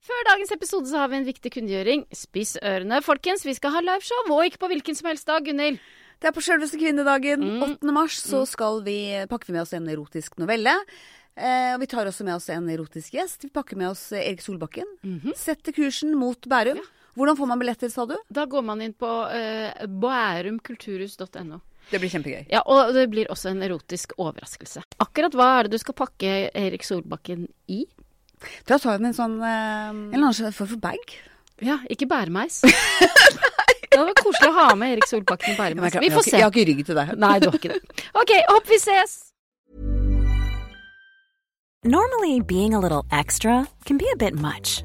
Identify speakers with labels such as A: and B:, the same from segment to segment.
A: Før dagens episode så har vi en viktig kunngjøring. Spiss ørene, folkens. Vi skal ha liveshow, og ikke på hvilken som helst dag, Gunhild.
B: Det er på selveste kvinnedagen.
A: Mm.
B: 8. mars så skal vi, eh, pakker vi med oss en erotisk novelle. Eh, og vi tar også med oss en erotisk gjest. Vi pakker med oss eh, Erik Solbakken. Setter kursen mot Bærum. Hvordan får man billetter, sa du?
A: Da går man inn på eh, bærumkulturhus.no.
B: Det blir kjempegøy.
A: Ja, og det blir også en erotisk overraskelse. Akkurat hva er det du skal pakke Erik Solbakken i?
B: Da tar vi med en sånn eh, En eller annen form for bag.
A: Ja, ikke bæremeis. det var koselig å ha med Erik Solbakken i bæremeis. Vi får se.
B: Jeg har ikke rygg til deg.
A: Nei, du har ikke det. OK, håper vi ses!
C: Normally, being a little extra can be a bit much,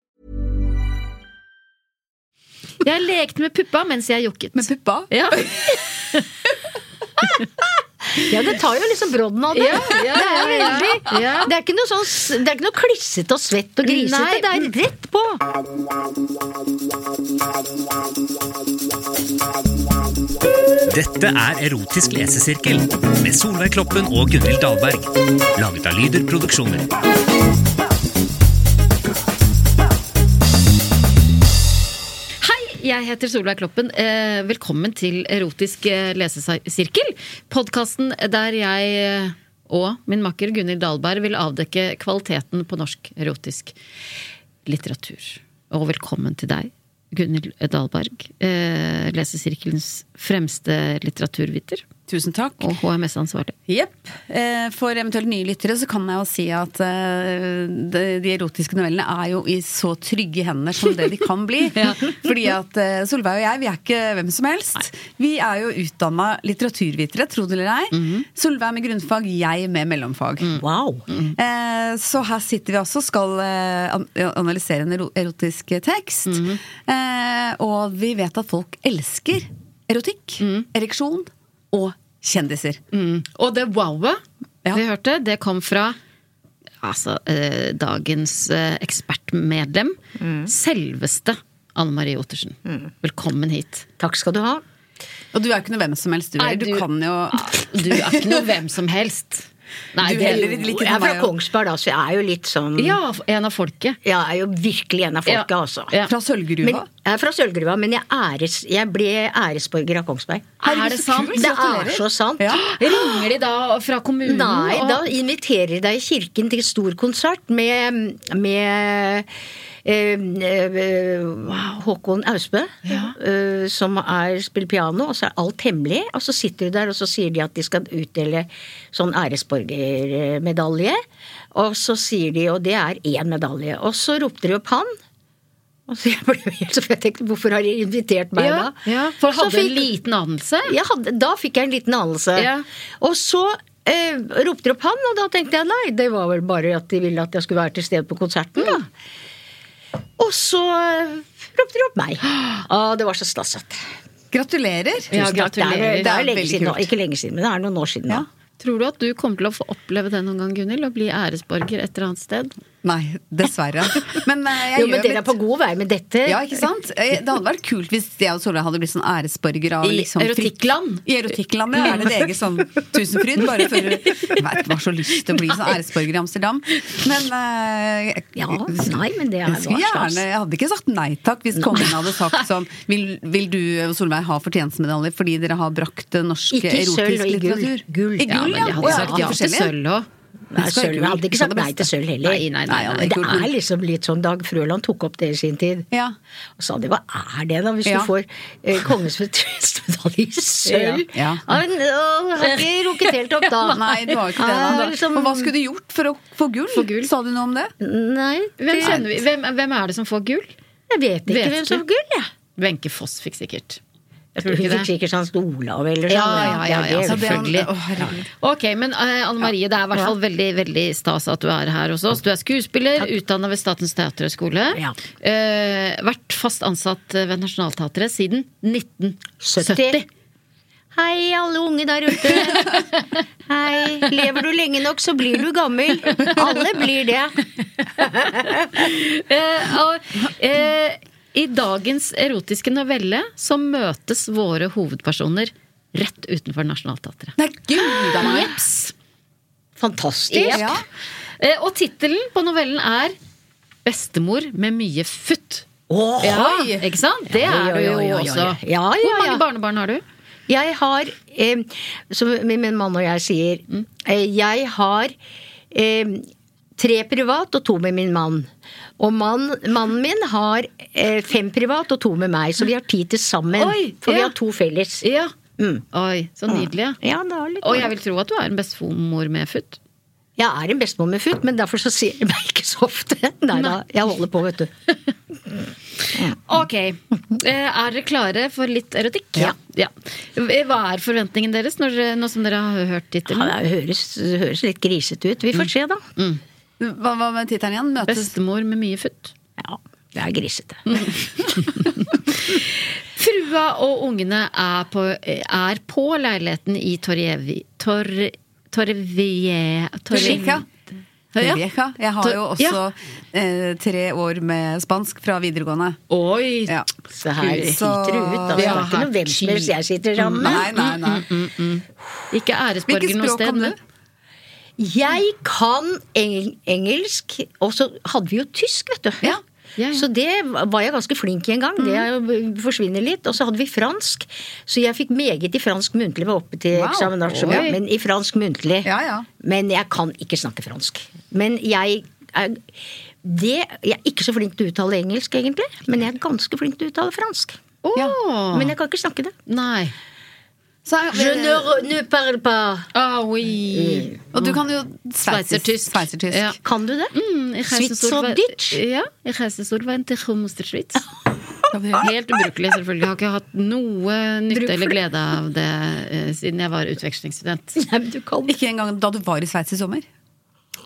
D: Jeg lekte med puppa mens jeg jokket.
B: Med puppa.
D: ja.
E: Ja, det tar jo liksom brodden av det.
D: Ja, ja,
E: det er
D: ja,
E: veldig
D: ja. Ja.
E: Det er ikke noe sånn s- Det er ikke noe klissete og svett og grisete.
D: Nei,
E: det er rett på.
F: Dette er Erotisk lesesirkel med Solveig Kloppen og Gunhild Dahlberg. Laget av Lyder Produksjoner.
D: Hei, jeg heter Solveig Kloppen. Eh, Velkommen til Erotisk eh, lesesirkel. Podkasten der jeg eh, og min makker Gunhild Dahlberg vil avdekke kvaliteten på norsk erotisk litteratur. Og velkommen til deg, Gunhild Dahlberg. eh, Lesesirkelens fremste litteraturviter
B: Tusen takk.
D: og HMS-ansvarlig.
B: Jepp. Eh, For eventuelt nye lyttere så kan jeg jo si at eh, de, de erotiske novellene er jo i så trygge hender som det de kan bli. Fordi at eh, Solveig og jeg, vi er ikke Eh, hvem som helst. Vi er jo utdanna litteraturvitere, tro det eller ei. Solveig med grunnfag, jeg med mellomfag.
E: Mhm. Mm. Wow.
B: Eh, Så her sitter vi altså og skal eh, an- analysere en ero- erotisk tekst.
E: Mhm.
B: Eh, Og vi vet at folk elsker erotikk,
E: Mhm.
B: ereksjon og kjendiser.
E: Mm.
D: Og det wowet
B: Ja.
D: vi hørte, det kom fra altså, eh, dagens eh, ekspertmedlem. Selveste Anne Marie Ottersen. Velkommen hit.
E: Takk skal du ha.
B: Og du er jo ikke noe hvem som helst, du.
D: Nei,
B: heller. Du
D: du-
B: kan jo
D: Du er ikke noe hvem som helst. Nei,
B: Du
D: det-
B: heller ikke
E: Jeg er fra
B: meg, ja.
E: Kongsberg, da, så jeg er jo litt sånn
D: Ja, en av folket.
E: Jeg er jo virkelig en av folket,
D: Ja.
E: altså.
D: Ja.
B: Fra
E: Men,
B: Sølvgruva.
E: jeg er fra Sølvgruva, men jeg, æres, jeg ble æresborger av Kongsberg.
D: Er det sant?
E: Det er så sant.
B: Ja.
D: Ringer de da fra kommunen?
E: Nei,
D: og-
E: da inviterer de deg i kirken til stor konsert med, med eh, eh, Håkon Austbø, eh, som er, spiller piano, og så er alt hemmelig. Og så sitter du der, og så sier de at de skal utdele sånn æresborgermedalje. Og så sier de, og det er én medalje. Og så ropte de opp han. Og så jeg ble helt så jeg tenkte, hvorfor har de invitert meg
D: ja,
E: da?
D: ja, for
E: Så
D: hadde en
E: fikk-
D: liten anelse?
E: jeg hadde, da fikk jeg en liten anelse.
D: Ja.
E: Og så eh, ropte de opp han, og da tenkte jeg nei, det var vel bare at de ville at jeg skulle være til stede på konserten, da. Og så eh, ropte de opp meg. Ah, det var så stasset.
B: Gratulerer!
D: Ja,
E: Tusen takk. Det er-
D: gratulerer.
E: Det er
B: Det er
E: lenge
B: veldig
E: siden nå.
B: kult.
E: Ikke lenge siden, men det er noen år siden nå.
B: Ja.
D: Tror du at du kommer til å få oppleve det noen gang, Gunhild? Å bli æresborger et eller annet sted?
B: Nei, dessverre. Men eh, jeg
E: Jo, men
B: gjør
E: dere er
B: mitt.
E: på god vei med dette.
B: Ja, ikke sant? Eh, Det hadde vært kult hvis jeg og Solveig hadde blitt sånn æresborger av
D: I
B: liksom, fritt-
D: erotikkland.
B: I erotikkland, ja. Er det det eget sånn Tusenfryd? Bare for Jeg vet, var så lyst til å bli sånn æresborger i Amsterdam. Men eh, jeg-
E: Ja, nei, men det er
B: jeg skulle
E: hva slags.
B: gjerne, jeg hadde ikke sagt nei takk hvis kongen hadde sagt sånn Vil, vil du, Solveig, ha fortjenstmedalje fordi dere har brakt eh, norsk
E: Ikke i
B: erotisk
E: sølv og i gull.
B: litteratur?
E: Gull.
B: I
E: Ja,
B: gull,
E: men
B: ja.
E: jeg
B: Å,
E: hadde
B: ja,
E: sagt
B: er det
D: ja til
B: forskjellig?
D: sølv òg.
E: Nei,
B: Det skal
E: sølv,
B: være
E: jeg
B: kult.
E: hadde ikke
B: Det er
E: sagt
B: det
E: nei til
B: beste.
E: sølv heller.
D: Nei, nei, nei, nei,
B: det er
E: det
B: kult, men-
E: er liksom litt sånn Dag Frøland tok opp det i sin tid.
B: Ja.
E: Og sa det, hva er det da, hvis
B: Ja.
E: du får eh, kongens fortjenstmedalje i sølv? Ah,
B: Ja.
E: men, å, jeg har ikke rukket helt opp da.
B: Nei, det var jo ikke det.
E: Ja,
B: da.
E: liksom-
B: Og hva skulle du gjort for å få gull?
D: gull.
B: Sa du noe om det?
E: Nei,
D: Hvem,
E: det-
D: kjenner vi? Hvem, hvem er det som får gull?
E: Jeg vet ikke
D: Vet
E: hvem som
D: du?
E: får gull, jeg.
D: Wenche Foss fikk sikkert. Tror du
E: Hun
D: ikke
E: fikk
D: det?
E: sikkert sånn Olav eller sånn.
D: Ja, ja, ja,
E: det er det.
D: ja, selvfølgelig.
G: Å, herregud.
D: Ok, men eh, Anne Marie, det er i hvert fall veldig, veldig stas at du er her hos oss. Du er skuespiller, utdanna ved Statens teaterhøgskole.
E: Ja.
D: Eh, vært fast ansatt ved Nationaltheatret siden 1970.
E: 70. Hei, alle unge der ute. Hei. Lever du lenge nok, så blir du gammel. Alle blir det.
D: Eh, og, eh, I dagens erotiske novelle så møtes våre hovedpersoner rett utenfor Nationaltheatret.
G: Nei, gud a meg!
D: Jeps.
E: Fantastisk.
G: Ja.
D: Eh, og tittelen på novellen er 'Bestemor med mye futt'.
E: Åh,
D: Ja, ikke sant? Det
E: Ja,
D: er
E: ja,
D: du
E: ja,
D: jo
E: ja, ja.
D: også.
E: Ja, ja,
D: Hvor
E: ja.
D: mange barnebarn har du?
E: Jeg har, eh, som min min mann og jeg sier,
D: Mm.
E: eh, jeg har eh, tre privat og to med min mann. Og mann, mannen min har eh, fem privat og to med meg, så vi har ti til sammen.
D: Oi,
E: for vi
D: ja.
E: har to felles.
D: Ja.
E: Mm.
D: Oi, så nydelig. ja.
E: Ja, det er litt
D: Og jeg vil tro at du er en bestemor med futt.
E: Jeg er en bestemor med futt, men derfor så sier jeg meg ikke så ofte. Nei da, jeg holder på, vet du.
D: Ok. Eh, Er dere klare for litt erotikk? Eh,
E: Ja.
D: Hva er forventningen deres, når, dere- nå som dere har hørt
E: Ja,
D: tittelen?
E: det høres, høres litt grisete ut. Vi
D: Mm.
E: får se, da.
G: Hva hva med tittelen igjen? Møtes
D: Bestemor med mye futt.
E: Ja, det er grisete.
D: Mm. Frua og ungene er på, er på leiligheten i Torjevi... Torre... Torrevie...
G: Torrevieja.
D: Ja.
G: Torrevieja. Jeg har jo også
D: Ja.
G: eh, tre år med spansk fra videregående.
D: Oi!
G: Ja.
E: Så her
G: Gud,
E: sitter
G: så-
E: du ut. Da.
G: Vi
E: Det er
D: har
E: ikke noe
D: hatt
E: hvem som helst jeg sitter sammen med.
G: Nei, nei, nei.
D: Ikke
G: Hvilket
D: æresborger noe
G: språk
D: sted.
G: kan du?
D: men-
E: Jeg kan eng engelsk, og så hadde vi jo tysk, vet du.
G: Ja.
D: Ja, ja.
E: Så det var jeg ganske flink i en gang. Det er jo- forsvinner litt. Og så hadde vi fransk, så jeg fikk meget i fransk muntlig. Var oppe til
G: Wow.
E: eksamen, altså,
G: Oi.
E: men i fransk muntlig.
G: Ja, ja.
E: Men jeg kan ikke snakke fransk. Men jeg er, det, jeg er ikke så flink til å uttale engelsk, egentlig. Men jeg er ganske flink til å uttale fransk.
D: Åh.
E: Men jeg kan ikke snakke det.
D: Nei.
G: Så er-
E: Je ne, re- ne parle pas.
D: Ah, oui.
G: og du kan jo
D: Sveitsertysk.
G: sveitsertysk. Sveitsertysk.
D: Ja.
E: Kan du det?
D: Mm, jeg reiser sol-
E: Schweizerdeutsch?
D: Ja, jeg reiser solveien til Homsterschwitz.
G: Ja, det gjør det.
D: Helt ubrukelig, selvfølgelig. Jeg har ikke hatt noe nytte eller glede av det eh, siden jeg var utvekslingsstudent.
E: Nei, men du kan
G: Ikke engang da du var i Sveits i sommer?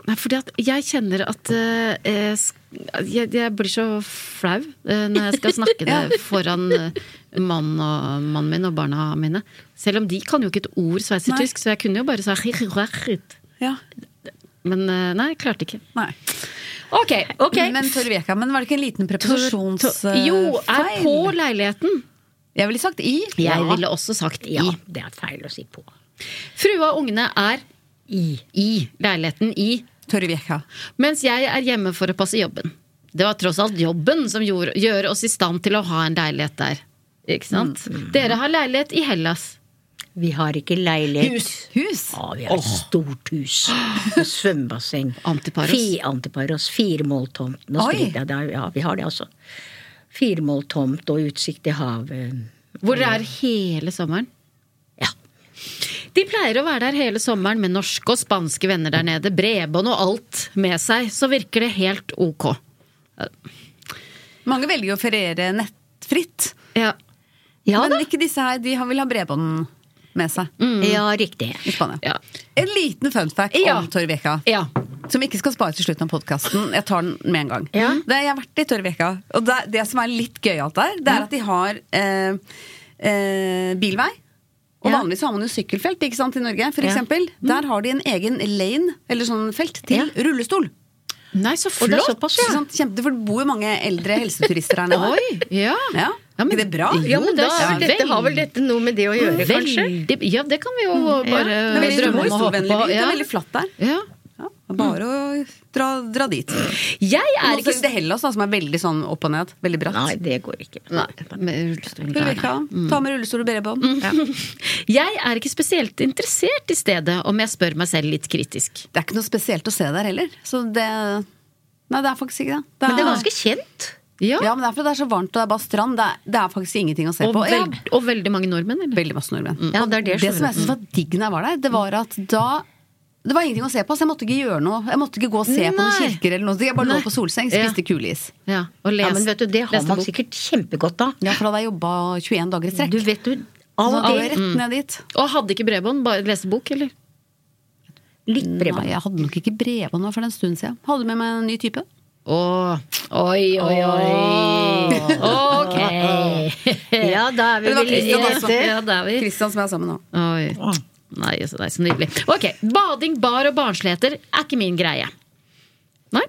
D: Nei, fordi at jeg kjenner at eh, eh, sk- jeg, jeg blir så flau eh, når jeg skal snakke det foran eh, mann og, mannen min og barna mine. Selv om de kan jo ikke et ord sveitsertysk, så jeg kunne jo bare sagt
G: Ja.
D: Men eh, nei, jeg klarte ikke.
G: Nei.
D: Ok,
G: Men Torrevieja, men var det ikke en liten eh, preposisjonsfeil?
D: Jo, er på leiligheten.
G: Jeg ville sagt i.
D: Jeg
E: Ja.
D: ville også sagt i.
E: Ja, det er feil å si på.
D: Frua og ungene er i. leiligheten i,
G: Torrevieja.
D: mens jeg er hjemme for å passe jobben. Det var tross alt jobben som gjorde, gjør oss i stand til å ha en leilighet der. Ikke sant? Dere har leilighet i Hellas.
E: Vi har ikke leilighet. Hus.
G: Hus.
E: Ja, vi har et stort hus. Med svømmebasseng.
D: Antiparos.
E: Fi, antiparos. Firemåltomt. Nå
G: Oi.
E: skriver jeg det. Ja, vi har det, altså. Firemåltomt og utsikt til havet.
D: Hvor dere er hele sommeren.
E: Ja.
D: De pleier å være der hele sommeren med norske og spanske venner der nede, bredbånd og alt med seg, så virker det helt ok.
G: Mange velger jo å feriere nettfritt.
D: Ja.
E: Ja, Mm.
G: men ikke disse her. De har- vil ha bredbånd med seg
E: ja, riktig.
G: i Spania.
D: Ja.
G: En liten fun fact
D: Ja.
G: om Torrevieja.
D: ja.
G: Som vi ikke skal spare til slutten av podkasten. Jeg tar den med en gang.
E: Ja.
G: Det, jeg har vært i Torrevieja, og det, det som er litt gøyalt der, det er at de har eh, eh, bilvei. Og
E: Ja.
G: vanligvis har man jo sykkelfelt ikke sant, i Norge. For
E: Ja.
G: eksempel, Der har de en egen lane, eller sånn felt, til rullestol.
D: Nei, så
E: Og det er
D: flott!
E: såpass,
G: Ikke
E: ja.
G: sant? Kjempe, for det bor jo mange eldre helseturister her nede.
D: Oi! Ja.
G: Ja.
D: Ja, men-
G: ikke det bra?
D: Jo,
E: men
D: da,
E: da-
D: vel-
E: dette har vel dette noe med det å gjøre, kanskje? Mm,
D: Veldig, ja, det kan vi jo bare
G: Det er veldig
D: drømme om å håpe
G: historievennlig by.
D: på.
G: Det
D: Ja.
G: er veldig flatt der.
D: Ja.
G: Ja, bare å dra, dra dit.
D: Jeg
G: Nå
D: er ikke
G: ikke det Hellas, da, som er veldig sånn opp og ned. Veldig bratt.
E: Nei, det går ikke.
D: Nei, med rullestol, nei,
G: Ulrika,
D: nei.
G: ta med rullestol og bredbånd.
D: Jeg er ikke spesielt interessert i stedet, om jeg spør meg selv litt kritisk.
G: Det er ikke noe spesielt å se der heller. Så det Nei, det er faktisk ikke det.
E: Men det er ganske kjent.
D: Ja,
G: Ja, men det er fordi det er så varmt og det er bare strand. Det er, det er faktisk ingenting å se
D: og,
G: på. Ja,
D: veld, og veldig mange nordmenn, eller? Mm,
G: veldig masse nordmenn.
E: Ja, det er det,
G: Det som
E: skjønner
G: jeg synes var digg når jeg var der, det var at da det var ingenting å se på, så jeg måtte ikke gjøre noe. Jeg måtte ikke gå og se på
D: Nei.
G: noen kirker eller noe. Jeg bare
D: Nei.
G: lå på solseng,
D: Ja.
G: spiste kuleis.
D: mm, Ja, og les,
E: Ja, men vet du, det har
D: leste
E: man
D: bok.
E: sikkert kjempegodt av.
G: Ja, for da hadde jeg jobba 21 dager i strekk.
E: Du vet du,
G: Så
E: all
G: da var jeg
E: det
G: rett ned dit.
D: Og hadde ikke bredbånd, bare leste bok, eller?
E: litt
G: Nei,
E: bredbånd.
G: jeg hadde nok ikke bredbånd nå for en stund siden. Hadde med meg en ny type.
D: Åh, oi, oi, oi. Ok.
E: Ja, da er sånn. vi
G: Men det var
E: vel
G: Christian
E: litt
G: også.
E: etter.
D: Ja, det er vi.
G: Kristian som jeg er sammen med nå.
D: Oi.
E: Ah.
D: Nei, så, nei, så nydelig. Ok, Bading, bar og barnsligheter er ikke min greie. Nei.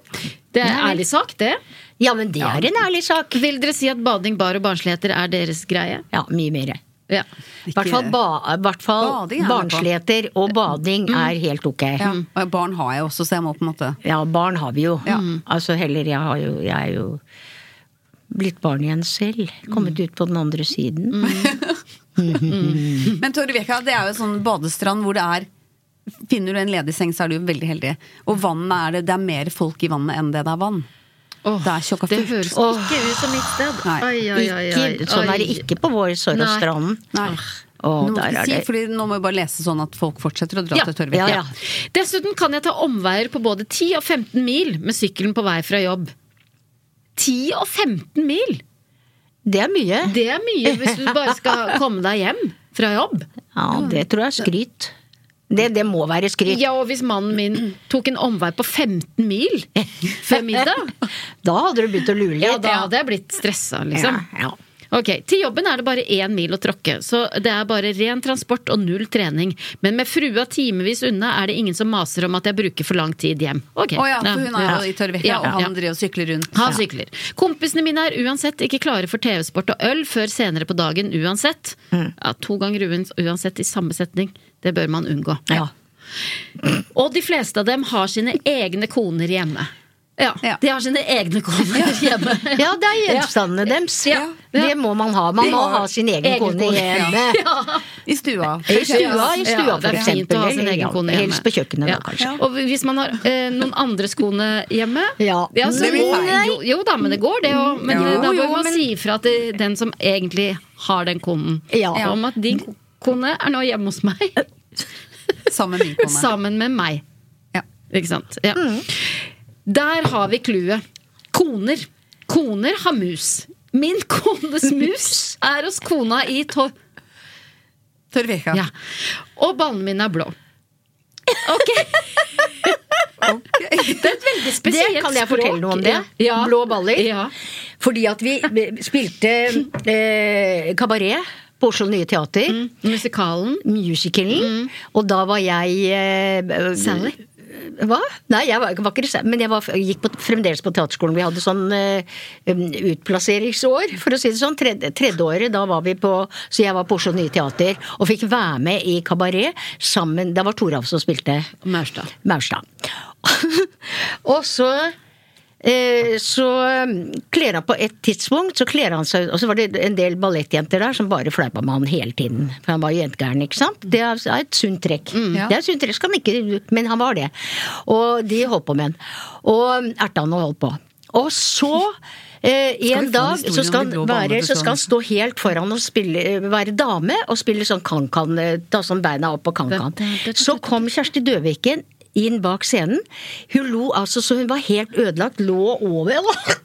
D: Det er ærlig sak, det.
E: Ja, men det er en ærlig sak.
D: Vil dere si at bading, bar og barnsligheter er deres greie?
E: Ja, mye mer.
D: Ja.
E: I hvert fall, ba, hvert fall
G: Bading er det på.
E: barnsligheter og bading er helt ok.
G: Ja. Og barn har jeg også, så jeg må på en måte
E: Ja, barn har vi jo.
G: Ja.
E: Altså heller, jeg, har jo, jeg er jo blitt barn igjen selv. Kommet ut på den andre siden.
G: Men Torrevieja, det er jo en sånn badestrand hvor det er Finner du en ledig seng, så er du jo veldig heldig. Og vannet er det, det er mer folk i vannet enn det det er vann.
D: Åh,
G: Det er tjokka
D: det
G: fullt.
D: høres
E: Åh.
D: ikke ut som mitt sted.
G: Nei.
E: Ikke, sånn er det ikke på vår Sorosstranden.
G: Nei.
E: Å,
G: Men du må
E: der
G: ikke
E: er
G: si,
E: det-
G: fordi nå må vi bare lese sånn at folk fortsetter å dra
D: Ja,
G: til Torvik.
E: ja, ja.
D: Dessuten kan jeg ta omveier på både 10 og 15 mil med sykkelen på vei fra jobb. 10 og 15 mil!
E: Det er mye.
D: Det er mye hvis du bare skal komme deg hjem fra jobb.
E: Ja, det tror jeg er skryt. Det, det må være skryt.
D: Ja, og hvis mannen min tok en omvei på 15 mil før middag,
E: Da hadde du begynt å lure litt.
D: ja, da hadde jeg blitt stressa, liksom.
E: Ja, ja.
D: Ok, Til jobben er det bare én mil å tråkke, så det er bare ren transport og null trening. Men med frua timevis unna er det ingen som maser om at jeg bruker for lang tid hjem. Ok.
G: Å ja, for hun er
D: Ja.
G: jo i Torvik,
D: Ja,
G: og han
D: ja.
G: driver og sykler rundt.
D: Han sykler. Kompisene mine er uansett ikke klare for TV-sport og øl før senere på dagen uansett.
G: Mm.
D: Ja, to ganger uans- uansett i samme setning. Det bør man unngå.
E: Ja.
D: Og de fleste av dem har sine egne koner hjemme. Ja,
G: Ja.
D: de har sine egne koner hjemme.
E: Ja, det er gjenstandene deres.
D: Ja.
E: Det må man ha. Man må ha sin egen,
D: Egen
E: kone
D: kone,
E: hjemme.
G: I stua.
E: I stua, i stua
D: Ja,
E: for
D: det er fint
E: eksempel.
D: å ha sin
E: eller
D: egen
E: ja,
D: kone hjemme.
E: Helst på kjøkkenet,
D: Ja.
E: da, kanskje.
D: Og hvis man har eh, noen andres kone hjemme
E: Ja.
D: så
G: Det blir
D: må-
G: feil.
D: Jo, jo da, men det går, det òg. Men
G: Ja.
D: eh, da
E: Jo,
D: må
E: jo,
D: man
E: men-
D: si ifra til den som egentlig har den konen,
E: Ja.
D: om at din kone er nå hjemme hos meg
G: Sammen med min kone.
D: sammen med meg.
G: Ja.
D: Ikke sant? Ja. Der har vi clouet. Koner. Koner har mus. Min kones mus er hos kona i tå...
G: Torvika.
D: Ja. Og ballen min er blå. Ok,
G: Ok.
D: spesielt
E: Det kan jeg fortelle noe om det.
D: Ja.
E: Blå baller.
D: Ja.
E: Fordi at vi spilte eh, kabaret på Oslo Nye Teater.
D: Mm. Musikalen.
E: Musicalen.
D: Mm.
E: Og da var jeg eh,
D: Sally?
E: Hva? Nei, jeg var, var ikke Sally, men jeg var, gikk på, fremdeles på teaterskolen. Vi hadde sånn eh, um, utplasseringsår, for å si det sånn. Tredje, tredje året, da var vi på Så jeg var på Oslo Nye Teater og fikk være med i kabaret sammen Det var Toralf som spilte.
D: Maurstad.
E: Maurstad. og så eh, så kler han på et tidspunkt så kler han seg, Og så var det en del ballettjenter der som bare fleipa med han hele tiden. For han var jo jentegæren, ikke sant? Det er er et sunt trekk.
G: Mm, Ja.
E: Det er et sunt trekk, skal han ikke, men han var det. Og de holdt på med han. Og erta han og holdt på. Og så eh, en
G: vi få en
E: dag
G: historie
E: så
G: om
E: skal,
G: de
E: han
G: blå
E: være,
G: banene
E: så skal han stå helt foran og spille, være dame og spille sånn kan-kan, eh, ta sånn beina opp på kan-kan. Så kom Kjersti Døviken inn bak scenen. Hun lo altså så hun var helt ødelagt, lå over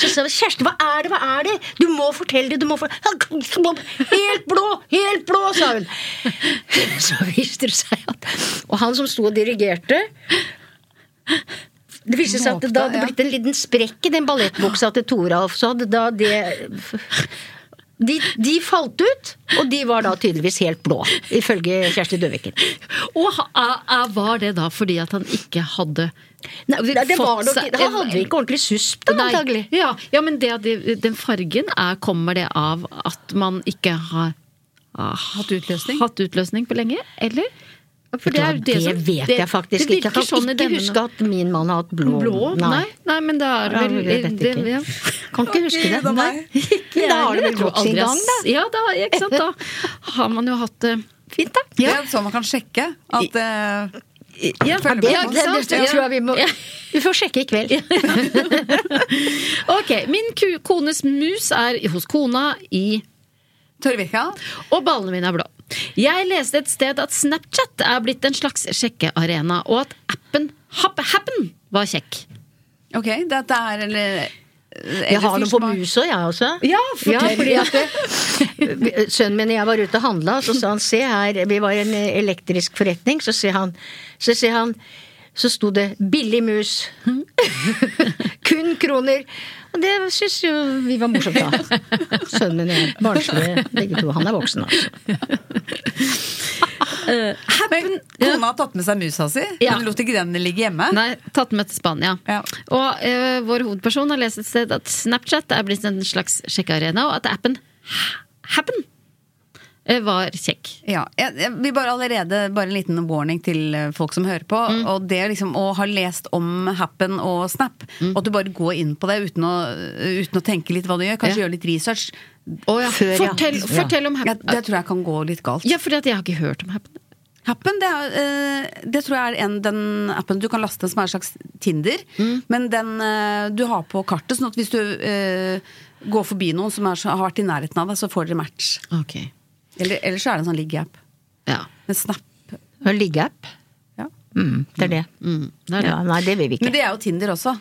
E: så sa jeg, Kjersti, hva er det, hva er det? Du må fortelle det, du må fortelle Helt blå, helt blå, sa hun. Så viste det seg at Og han som sto og dirigerte det viste seg at det da hadde blitt en liten sprekk i den ballettbuksa til Toralf. Så hadde da det de, de falt ut, og de var da tydeligvis helt blå, ifølge Kjersti Døviken.
D: Og ha- a- a- var det da fordi at han ikke hadde
E: Nei, det var
D: Fått
E: nok,
D: seg-
E: da hadde vi ikke ordentlig susp, da,
D: Nei.
E: antagelig.
D: Ja, ja, men det, at de- den fargen er, kommer det av at man ikke har ah,
G: Hatt utløsning?
D: hatt utløsning på lenge? Eller? For
E: Det,
D: jo
E: det,
D: som-
E: vet
D: det-
E: jeg faktisk
D: det
E: ikke. Jeg
D: virker
E: kan
D: sånn i
E: ikke
D: denne-
E: huske at min mann har hatt blå.
D: Blå? Nei. Nei, men da er det
E: Ja,
D: vel
E: jeg vet
D: det,
E: ikke.
D: ja.
E: Kan ikke huske det.
G: da
E: Nei.
G: meg.
E: Men da har det
D: Jeg
E: vel gått
D: tror
E: sin
D: aldri
E: gang, da.
D: jeg s- Ja, da, ikke sant? da har man jo hatt eh, det
E: Fint, da.
G: Det er sånn man kan sjekke at eh,
D: ja,
G: følger
E: Det,
G: med
E: det,
G: på.
E: det,
D: Ja.
E: tror jeg vi må
D: Ja.
E: Vi får sjekke i kveld.
D: Ok, min ku kones mus er hos kona i
G: Torvika
D: Og ballene mine er blå. Jeg leste et sted at Snapchat er blitt en slags sjekkearena, og at appen Hap- Happen var kjekk.
G: Ok, dette er eller
E: Jeg har noe på
G: mus
E: musa, jeg også.
D: Ja, fortell.
E: fordi at det- Sønnen min og jeg var ute og handla, så sa han se her Vi var i en eh, elektrisk forretning, så sier han Så sier han så sto det 'billig mus'. Kun kroner. Og det syns jo vi var morsomt, da. Sønnen min og jeg. Barnslige begge to. Han er voksen, altså.
G: Men kona har tatt med seg musa si.
D: Ja.
G: Hun lot ikke den ligge hjemme.
D: Nei, tatt med til Spania.
G: Ah. Ja.
D: Og eh, vår hovedperson har lest et sted at Snapchat er blitt en slags sjekkearena, og at appen Ha- Happen eh, var kjekk.
G: Ja, jeg, jeg vil bare allerede bare en liten warning til eh, folk som hører på.
D: Mm.
G: Og det liksom å ha lest om Happen og Snap,
D: Mm.
G: og at du bare går inn på det uten å, uten å tenke litt hva du gjør, kanskje
D: Ja.
G: gjøre litt research,
D: Å ja.
E: Før, ja.
D: fortell,
E: Ja.
D: fortell om
G: ja,
D: Happen.
G: det tror jeg kan gå litt galt.
D: Ja, fordi at jeg har ikke hørt om Happen.
G: Happen, det, er, eh, det tror jeg er en, den appen du kan laste som er en slags Tinder.
D: Mm.
G: Men den eh, du har på kartet, sånn at hvis du eh, går forbi noen som er, så- har vært i nærheten av deg, så får dere match.
D: Ok.
G: Eller, ellers så er det en sånn ligge-app.
D: Ja.
G: Men Snap
E: Og Liggeapp.
G: ja.
E: Mm, det er det.
D: Mm, det er det.
E: Ja, nei, det vil vi ikke.
G: Men det er jo Tinder også.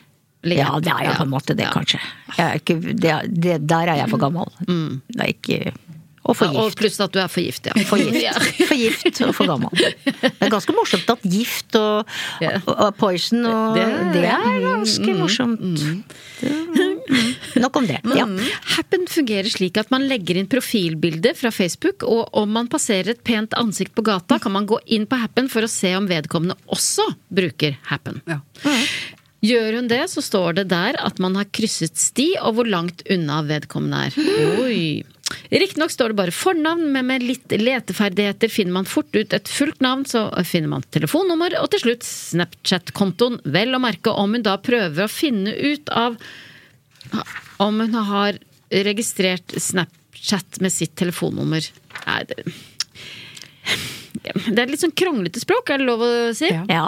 D: Ligger
E: Ja, det er jeg på en måte det, kanskje. Jeg er ikke, det, er- det, der er jeg for gammel. Det er ikke Mm. Og for
D: Ja, og
E: gift.
D: pluss at du er for gift, ja.
E: For gift.
D: Ja.
E: for gift og for gammel. Det er ganske morsomt at gift og,
D: Ja.
E: og, og poison og
D: Det
E: Det
D: er-
E: er, mm, ganske morsomt. Det- Nok om det. Ja.
D: Happen fungerer slik at man legger inn profilbilde fra Facebook, og om man passerer et pent ansikt på gata, kan man gå inn på Happen for å se om vedkommende også bruker Happen.
G: Ja.
D: Gjør hun det, så står det der at man har krysset sti, og hvor langt unna vedkommende er. Oi. Riktignok står det bare fornavn, men med litt leteferdigheter finner man fort ut et fullt navn, så finner man telefonnummer, og til slutt Snapchat-kontoen. Vel å merke om hun da prøver å finne ut av om hun har registrert Snapchat med sitt telefonnummer. Nei, det Det er litt sånn kronglete språk, er det lov å si?
E: ja.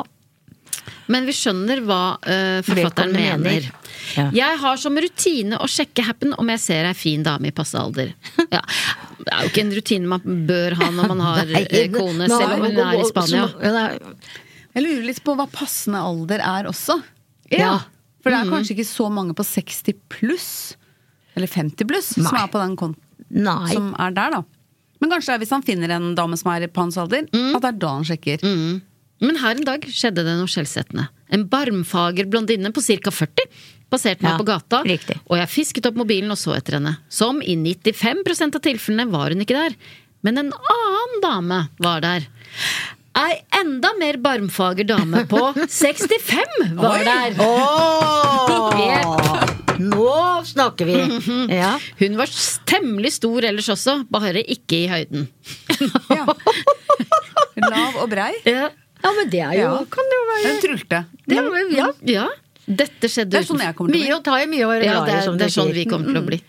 D: Men vi skjønner hva eh, forfatteren
E: Vedkommende
D: mener.
E: mener. Ja.
D: Jeg har som rutine å sjekke happen om jeg ser ei fin dame i passe alder. Ja. Det er jo ikke en rutine man bør ha når man har eh, kone,
E: Nå
D: selv om hun
E: nå-
D: er i Spania.
E: så- ja, nei,
G: Jeg lurer litt på hva passende alder er også.
E: Ja. Mm.
G: For det er kanskje ikke så mange på 60 pluss, eller 50 pluss, som
E: Nei.
G: er på den konten
E: Nei.
G: som er der, da. Men kanskje det er hvis han finner en dame som er på hans alder,
E: Mm.
G: at det er da han sjekker.
D: Men her en dag skjedde det noe skjellsettende. En barmfager blondinne på ca. 40 passerte meg
E: Ja,
D: på gata,
E: riktig.
D: og jeg fisket opp mobilen og så etter henne. Som i 95 av tilfellene var hun ikke der. Men en annen dame var der. Ei enda mer barmfager dame på 65 var der!
E: Nå snakker vi! Ja.
D: Hun var temmelig stor ellers også, bare ikke i høyden.
G: Ja. Lav og brei.
E: ja, men det er jo
G: Ja.
E: Kan det jo være
G: Den trulte.
E: det er, jo- ja.
D: Ja, dette skjedde
G: Det er sånn jeg kommer til å bli.
E: Mye å ta i, mye å være
D: Ja,
E: glad
D: det
E: i,
D: er,
E: som
D: det
E: du
D: er sånn
E: sier.
D: vi kommer til å bli.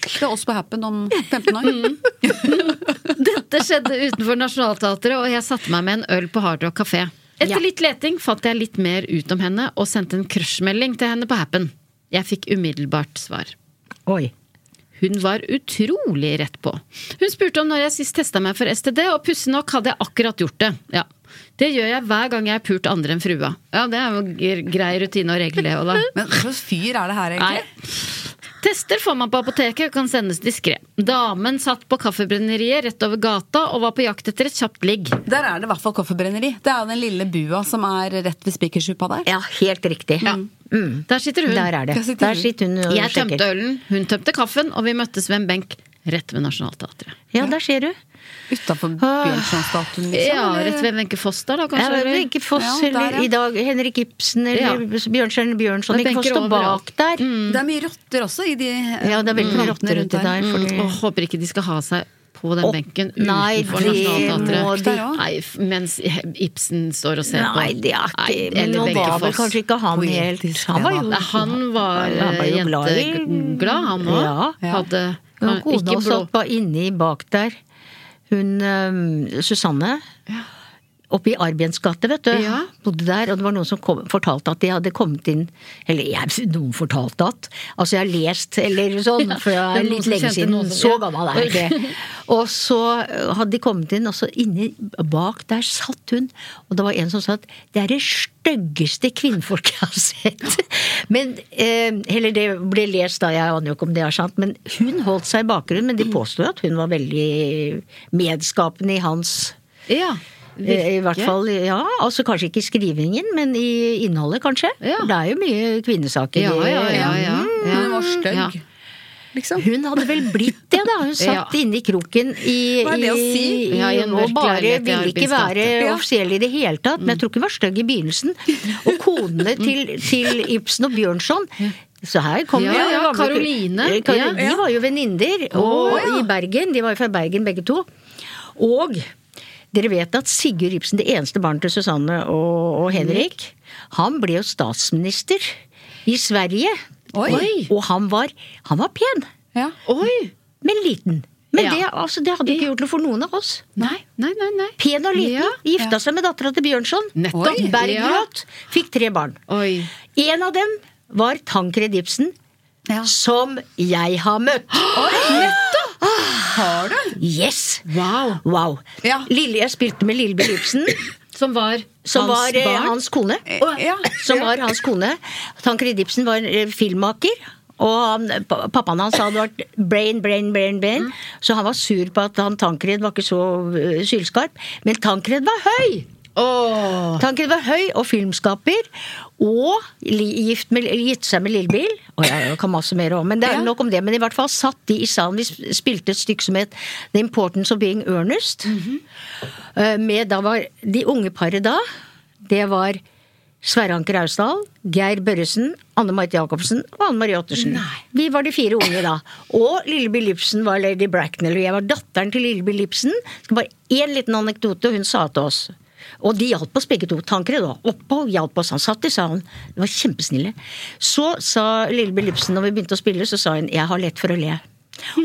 G: Det er oss på Happen om 15 år.
E: Mm.
D: Dette skjedde utenfor Nationaltheatret, og jeg satte meg med en øl på Hard Rock kafé. Etter
E: Ja.
D: litt leting fant jeg litt mer ut om henne, og sendte en crushmelding til henne på Happen. Jeg fikk umiddelbart svar.
E: Oi.
D: Hun var utrolig rett på. Hun spurte om når jeg sist testa meg for STD, og pussig nok hadde jeg akkurat gjort det. Ja. Det gjør jeg hver gang jeg har pult andre enn frua. Ja, det er jo gr- grei rutine og regel, det òg, da.
G: Men hva slags fyr er det her,
D: Nei.
G: egentlig?
D: Tester får man på apoteket og kan sendes diskré. Damen satt på kaffebrenneriet rett over gata og var på jakt etter et kjapt ligg.
G: Der er det i hvert fall kaffebrenneri. Det er jo den lille bua som er rett ved Spikersuppa der.
E: Ja, helt riktig. Mm.
D: Der sitter hun.
E: Der er det.
G: Der sitter
E: Der
G: hun.
E: sitter hun og
D: Jeg
E: sjekker.
D: tømte ølen, hun tømte kaffen, og vi møttes ved en benk rett ved Nationaltheatret.
E: Ja, der ser du.
G: Utafor Bjørnsonstatuen, liksom.
D: Ja,
G: eller?
D: rett ved Wenche Foss der, da,
E: Altså, Ja,
D: kanskje? eller?
E: Wenche Foss
G: Ja, der,
E: eller
G: ja.
E: i dag Henrik Ibsen eller Bjørnstjerne Bjørnson.
D: Det
E: Wenche Foss
D: benker
E: står bak
D: overalt.
E: der.
G: Det er mye rotter også i de
E: Ja, det er veldig mye
G: Mm.
E: Mm. rotter rundt det der. fordi-
D: Åh, håper ikke de skal ha seg på den
E: Åh,
D: benken
E: nei,
D: utenfor
E: det må
D: Nationaltheatret.
E: de-
D: Nei, f- mens Ibsen står og ser på.
E: Nei, det er ikke
D: Nei,
E: Men
D: eller
E: nå
D: Wenche
E: var vel
D: Foss.
E: kanskje ikke han helt
G: Poetisk,
E: Han var
G: det
E: jo
D: Nei, Han var, eh,
E: Han var jo glad i-
D: jenteglad, han òg.
E: Ja.
G: Ja.
D: Hadde
E: Men
D: han-
E: Kona
D: ikke
E: også
D: blå
E: satt bare inne i bak der. Hun øhm, Susanne. ehm, Oppe i Arbiens gate, vet du.
D: Ja.
E: Bodde der, og det var noen som kom, fortalte at de hadde kommet inn Eller jeg, noen fortalte at Altså, jeg har lest, eller sånn, for jeg
D: det er
E: er
D: noen
E: litt
D: som
E: lenge
D: kjente
E: siden.
D: noen som-
E: Så
D: ja.
E: gammel er jeg ikke. Og så hadde de kommet inn, og så inni bak der satt hun. Og det var en som sa at det er det styggeste kvinnfolket jeg har sett. Men, eh, eller det ble lest da, jeg aner jo ikke om det er sant, men hun holdt seg i bakgrunnen. Men de påsto jo at hun var veldig medskapende i hans
D: Ja,
E: eh, I hvert
D: virke.
E: fall, ja, altså Kanskje ikke i skrivingen, men i innholdet, kanskje.
D: Ja.
E: Det er jo mye kvinnesaker.
D: Ja,
E: i-
D: ja, ja, ja. ja.
G: Mm, Hun var stygg.
D: Ja.
G: Liksom.
E: Hun hadde vel blitt det, da. Hun satt
D: Ja.
E: inne i kroken i,
G: Hva er det å
E: i-
G: si?
E: i-
D: Ja, i en mørk
E: og bare
D: leilighet i
E: ville ikke
D: Arbins
E: være
D: gate.
G: Ja.
E: offisiell i det hele tatt.
D: Mm.
E: Men jeg tror ikke hun var stygg i begynnelsen. Og konene til, til Ibsen og Bjørnson så her kommer
D: Ja,
E: jo
D: ja,
E: gamle-
D: Caroline.
E: Eh, Caroline,
D: Ja.
E: De var jo venninner og- i Bergen. De var jo fra Bergen begge to. Og dere vet at Sigurd Ibsen, det eneste barnet til Susanne og, og Henrik,
G: Mm.
E: han ble jo statsminister i Sverige.
G: Oi.
E: Og han var, han var pen.
G: Ja.
D: Oi!
E: Men liten. Men
D: Ja.
E: det, altså, det hadde ikke gjort noe for noen av oss.
D: Nei, nei, nei. nei.
E: Pen og liten.
D: Ja.
E: Gifta seg med dattera til Bjørnson.
D: Nettopp. Oi.
E: Bergljot. Fikk tre barn.
D: Oi.
E: En av dem var Tankred Ibsen,
G: Ja.
E: som jeg har møtt.
G: Har du?
E: Yes!
D: Wow.
E: Wow.
G: Ja.
E: Lille, jeg spilte med Lillebjørn Ibsen,
D: Som var
E: som
D: hans
E: var eh,
D: barn.
E: hans kone.
G: Eh, ja.
E: Som var hans kone. Tankred Ibsen var eh, filmmaker. Og han, pa- pappaen hans hadde vært brain, brain, brain, brain. Så han var sur på at han Tankred var ikke så eh, sylskarp. Men Tankred var høy!
D: Åh.
E: Tankred var høy og filmskaper. Og li- gift med, eller gitt seg med Lillebil. Og jeg kan masse mer om, men det er nok om det. Men i hvert fall satt de i salen. Vi sp- spilte et stykke som het The Importance of Being Earnest.
D: Mhm.
E: Eh, Med da var De unge paret da, det var Sverre Anker Austdal, Geir Børresen, Anne Marit Jacobsen og Anne Marie Ottersen. Vi var de fire unge da. Og Lilleby Lipsen var lady Bracknell. Og jeg var datteren til Lilleby Lipsen. Skal bare én liten anekdote hun sa til oss. Og de hjalp oss begge to. Tankere da. Oppå og hjalp oss. Han satt i salen. De var kjempesnille. Så sa Lilleby Lipsen, når vi begynte å spille, så sa hun 'jeg har lett for å le'.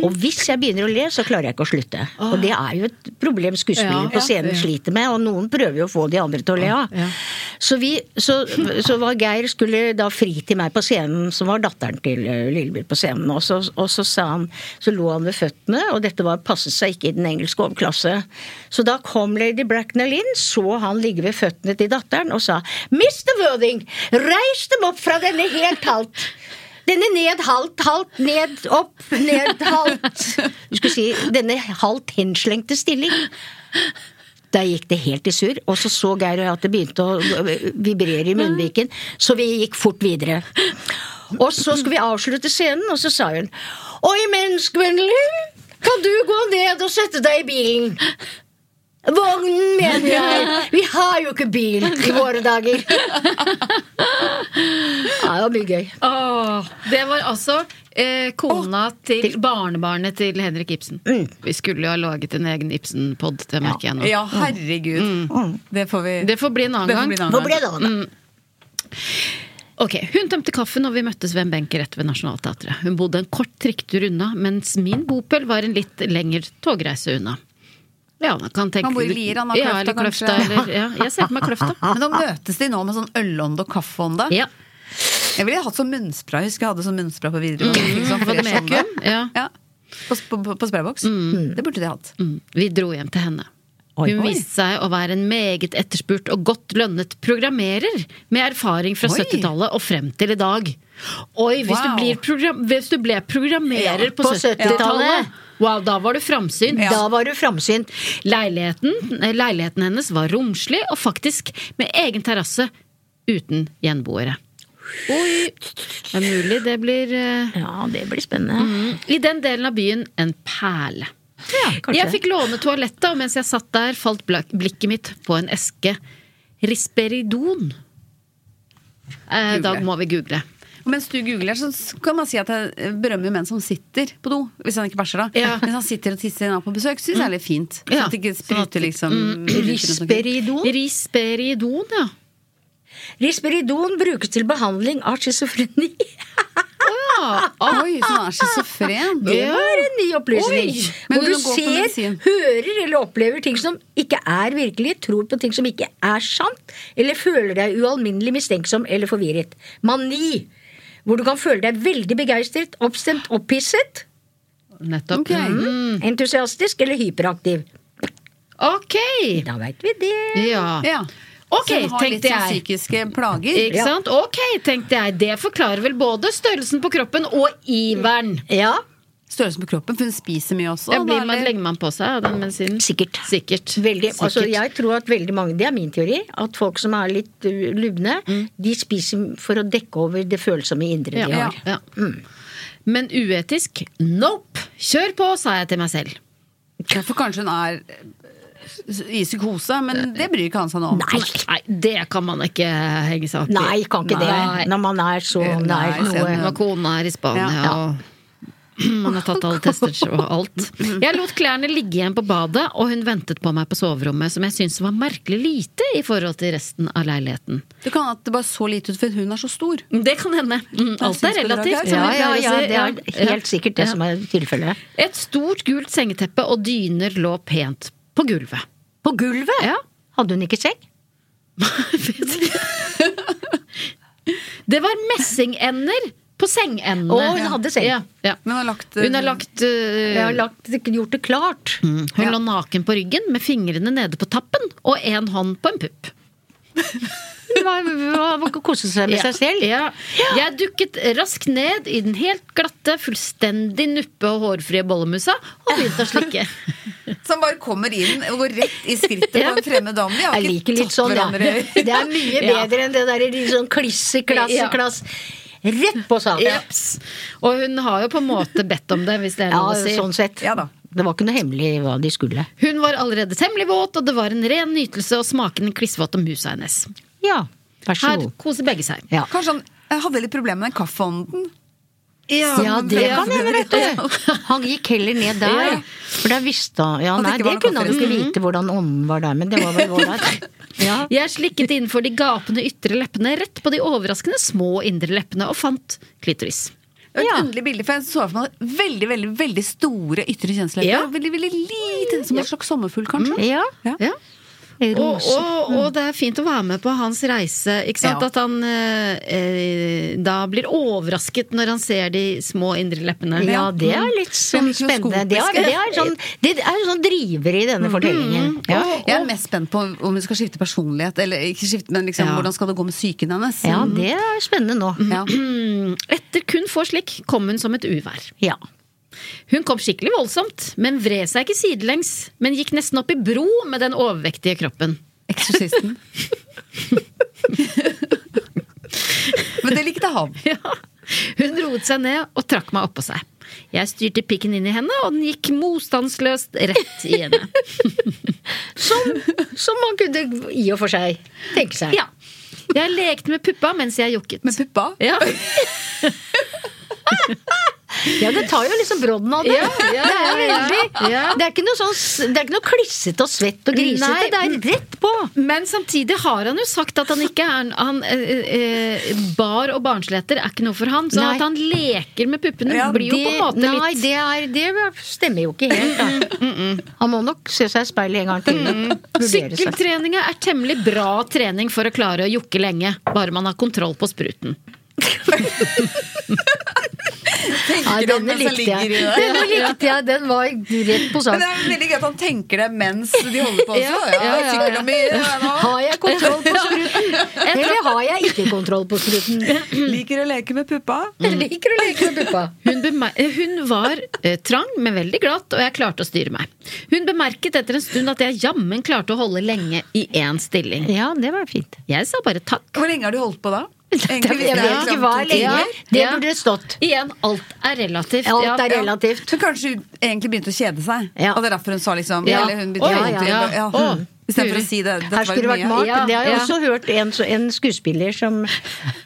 E: Og hvis jeg begynner å le, så klarer jeg ikke å slutte. Og det er jo et problem skuespillere
D: Ja,
E: på scenen
D: ja.
E: sliter med, og noen prøver jo å få de andre til å le av.
D: Ja.
E: Så, vi, så, så var Geir skulle da fri til meg på scenen, som var datteren til eh, Lillebjørn på scenen. Og så, og så sa han Så lå han ved føttene, og dette var, passet seg ikke i den engelske overklasse. Så da kom lady Bracknell inn, så han ligge ved føttene til datteren og sa Mr. Worthing, reis dem opp fra denne helt halvt. Denne ned, halvt, halvt, ned, opp, ned, halvt. Du skulle si denne halvt henslengte stilling. Da gikk det helt i surr, og så så Geir og jeg at det begynte å vibrere i munnviken, så vi gikk fort videre. Og så skulle vi avslutte scenen, og så sa hun Og imens, Gwendolen, kan du gå ned og sette deg i bilen? Vognen, mener jeg. Vi har jo ikke bil i våre dager. Ja, det var mye gøy.
D: Åh, det var altså eh, kona til, barnebarnet til Henrik Ibsen. Vi skulle jo ha laget en egen Ibsen-pod, det merker jeg nå.
G: Mm. Ja, herregud. Det får vi
D: Det får bli en annen
G: det får bli
D: gang.
E: Hvor ble det av det?
D: Ok, Hun tømte kaffen når vi møttes ved en benk rett ved Nationaltheatret. Hun bodde en kort trikketur unna, mens min bopel var en litt lengre togreise unna. Ja, man kan tenke
G: Han bor i Lier, han har
D: ja,
G: Kløfta,
D: eller kløfta
G: kanskje.
D: eller, ja, Jeg ser for meg Kløfta.
G: Men da møtes de nå med sånn ølånde og kaffeånde.
D: Ja.
G: Jeg ville hatt sånn munnspray. Jeg husker jeg hadde sånn munnspray på videregående. fikk sånn
D: Var det
G: fresh ånde.
D: mekum? Ja.
G: Ja. På, på, på- på sprayboks. Det burde de hatt.
D: Mm, Vi dro hjem til henne.
G: Oi,
D: Hun
G: oi.
D: viste seg å være en meget etterspurt og godt lønnet programmerer med erfaring fra
G: Oi.
D: 70-tallet og frem til i dag. Oi, hvis, du,
G: Wow.
D: blir program, hvis du ble programmerer
E: Ja,
D: på
E: på
D: 70-tallet!
E: 70-tallet.
D: Wow, da var du framsynt!
E: Da var du framsynt.
D: Leiligheten, eh, leiligheten hennes var romslig og faktisk med egen terrasse uten gjenboere. Oi! Det er mulig det blir eh,
E: Ja, det blir spennende.
D: i den delen av byen en perle.
E: kanskje.
D: jeg fikk låne toalettet, og mens jeg satt der, falt blak- blikket mitt på en eske risperidon. Eh, da må vi google.
G: Og mens du googler, så kan man si at jeg eh, berømmer menn som sitter på do. Hvis han ikke bæsjer, da.
D: Ja.
G: Mens han sitter og tisser når han er på besøk, syns jeg er litt fint. Så
D: Ja. Sånn
G: at det ikke spruter liksom
D: mm,
E: Risperidon.
D: Risperidon, ja.
E: Risperidon brukes til behandling av schizofreni.
D: Ah,
G: Oi, så han er schizofren.
E: Det var en ny opplysning.
G: Oi! Men
E: Hvor
G: hun
E: du
G: går på
E: ser,
G: medisin.
E: hører eller opplever ting som ikke er virkelig, tror på ting som ikke er sant, eller føler deg ualminnelig mistenksom eller forvirret. Mani. Hvor du kan føle deg veldig begeistret, oppstemt, opphisset,
D: Nettopp.
G: Ok.
D: Mm.
E: entusiastisk eller hyperaktiv.
D: Ok!
E: Da veit vi det.
D: Ja.
G: Ja.
D: Ok,
G: så han har litt
D: tenkte
G: sånn
D: jeg.
G: psykiske plager.
D: Ikke sant? Ok, tenkte jeg. Det forklarer vel både størrelsen på kroppen og iveren.
E: Mm. Ja,
G: Størrelsen på kroppen, for hun spiser mye også.
D: Ja,
G: da
D: blir
G: er
D: man,
G: det-
D: legger man på seg av den medisinen?
E: sikkert.
D: Sikkert.
E: Veldig,
D: Sikkert.
E: altså jeg tror at veldig mange, Det er min teori. At folk som er litt uh, lubne, de spiser for å dekke over det følsomme indre
D: ja.
E: de
D: Ja.
E: har.
D: Ja. Mm. Men uetisk? Nope! Kjør på, sa jeg til meg selv.
G: Ja, for kanskje hun er eh, i psykose, men det bryr ikke han seg noe om.
E: Nei.
D: Nei, det kan man ikke henge seg opp i.
E: Nei, kan ikke
D: Nei.
E: det. Når man er så nær
G: Nei,
E: noe.
D: Når kona er i Spania
G: Ja.
D: og man har tatt alle tester og alt. Jeg lot klærne ligge igjen på badet, og hun ventet på meg på soverommet, som jeg syntes var merkelig lite i forhold til resten av leiligheten.
G: Det kan at det bare så lite ut, for hun er så stor.
D: Det kan hende. Mm, alt er relativt.
E: Ja, ja, ja, det
D: ja.
E: er helt sikkert det som er tilfellet.
D: Et stort gult sengeteppe og dyner lå pent på gulvet.
E: På gulvet?
D: Ja.
E: Hadde hun ikke seng?
D: Det var messingender på sengeendene.
E: Å, hun hadde seng.
D: Ja, ja.
G: Men hun har lagt eh,
D: Hun har lagt, øh,
E: Jeg har lagt, gjort det klart.
D: Hun lå naken på ryggen med fingrene nede på tappen og en hånd på en pupp.
E: Hun var, var, var ikke kose seg med
D: Ja.
E: seg selv.
D: Ja. Jeg dukket raskt ned i den helt glatte, fullstendig nuppe og hårfrie bollemusa og begynte å slikke.
G: Som bare kommer inn og går rett i skrittet på en fremmed dame. De har
E: Jeg
G: ikke
E: liker litt
G: tatt
E: sånn, ja.
G: hverandre
E: Det er mye
D: Ja.
E: bedre enn det derre litt sånn klisse, klasse,
D: Ja.
E: klass. Rett på sak.
D: Jeps. Og hun har jo på en måte bedt om det, hvis det er
E: Ja,
D: lov å si.
E: sånn sett.
G: Ja da.
E: Det var ikke noe hemmelig hva de skulle.
D: Hun var allerede temmelig våt, og det var en ren nytelse å smake den klissvåte musa hennes.
E: Ja, vær så
D: Her
E: god.
D: koser begge seg.
E: Ja.
G: Kanskje han eh, hadde litt problemer med den kaffeånden.
E: Ja,
G: Som
E: det
G: ble-
E: kan hende, vet du. Han gikk heller ned der.
D: Ja.
E: For da visste han Ja,
G: At det
E: nei,
G: ikke
E: det
G: var noe
E: kunne han ikke
G: kaffe.
E: vite hvordan ånden var der, men det var vel ålreit. Ja.
D: Jeg slikket innenfor de gapende ytre leppene, rett på de overraskende små indre leppene, og fant klitoris.
G: Det var et
E: Ja.
G: underlig bilde, for jeg så for meg veldig veldig, veldig store ytre kjønnslepper.
D: Ja.
G: Veldig, veldig lite, som en slags sommerfugl, kanskje.
E: Mm. Ja.
G: Ja.
D: Ja. Og,
E: Rose.
D: og, og det er fint å være med på hans reise. Ikke sant?
G: Ja.
D: At han eh, eh, da blir overrasket når han ser de små indre leppene.
E: Ja, det er litt sånn
G: Det er litt
E: spennende. Det er, det er sånn, det er sånn driver i denne fortellingen. Ja.
G: Jeg er mest spent på om hun skal skifte personlighet, eller ikke skifte, men liksom,
D: Ja.
G: hvordan skal det gå med psyken hennes? Mm.
E: ja, det er spennende nå.
G: Ja.
D: Etter kun få slik kom hun som et uvær.
E: Ja.
D: Hun kom skikkelig voldsomt, men vred seg ikke sidelengs. Men gikk nesten opp i bro med den overvektige kroppen.
G: Eksorsisten. Men det likte han.
D: Ja. Hun roet seg ned og trakk meg oppå seg. Jeg styrte pikken inn i henne, og den gikk motstandsløst rett i henne.
E: Som, som man kunne i og for seg tenke seg.
D: Ja. Jeg lekte med puppa mens jeg jokket.
G: Med puppa.
D: Ja.
E: Ja, det tar jo liksom brodden av det.
D: Ja, ja,
E: det er
D: ja, ja.
E: veldig
D: Ja.
E: Det er ikke noe sånn Det er ikke noe klissete og svett og grisete.
D: Nei.
E: Det er rett på.
D: Men samtidig har han jo sagt at han ikke er han, eh, eh, Bar og barnsligheter er ikke noe for han. Så
E: Nei.
D: at han leker med puppene
G: Ja,
D: blir jo på en måte litt
E: Nei, det, er, det stemmer jo ikke helt, da. Han må nok se seg i speilet en gang til. Vurdere seg.
D: Sykkeltreninga er temmelig bra trening for å klare å jokke lenge, bare man har kontroll på spruten.
E: Nei,
G: Tenker han
E: denne
G: mens han
E: likte jeg.
G: ligger i det.
E: Denne likte jeg. Den var rett på
G: Men
E: sak.
G: det er veldig gøy at han tenker det mens de holder på også. Ja, ja,
D: ja, ja.
G: sikkert om i- ja, nå.
E: Har jeg kontroll på spruten? Eller har jeg ikke kontroll på spruten?
G: Liker å leke med puppa.
E: Jeg liker å leke med puppa.
D: Hun, bemer eh, hun var eh, trang, men veldig glatt, og jeg klarte å styre meg. Hun bemerket etter en stund at jeg jammen klarte å holde lenge i én stilling.
E: Ja, det var fint.
D: Jeg sa bare takk.
G: Hvor lenge har du holdt på da? Egentlig, hvis
E: Jeg
G: det
E: vet
G: er
E: ikke
G: liksom
E: hva
G: to
E: lenge.
G: timer.
E: Det
D: Ja.
E: burde det stått.
D: Igjen, alt er relativt.
E: Alt er
D: Ja.
E: relativt.
G: Så kanskje hun egentlig begynte å kjede seg.
E: Ja.
G: Og det er derfor hun sa liksom
D: Ja.
G: Eller hun begynte
D: Å,
G: å
D: ja,
G: gjøre
D: ja.
G: det. Ja.
D: Å,
G: Istedenfor å
D: Guri.
G: si det. Dette
E: Her
G: var
E: skulle det vært
G: mye.
E: mat.
D: Ja,
E: det har jeg
D: ja.
E: også hørt en, en skuespiller som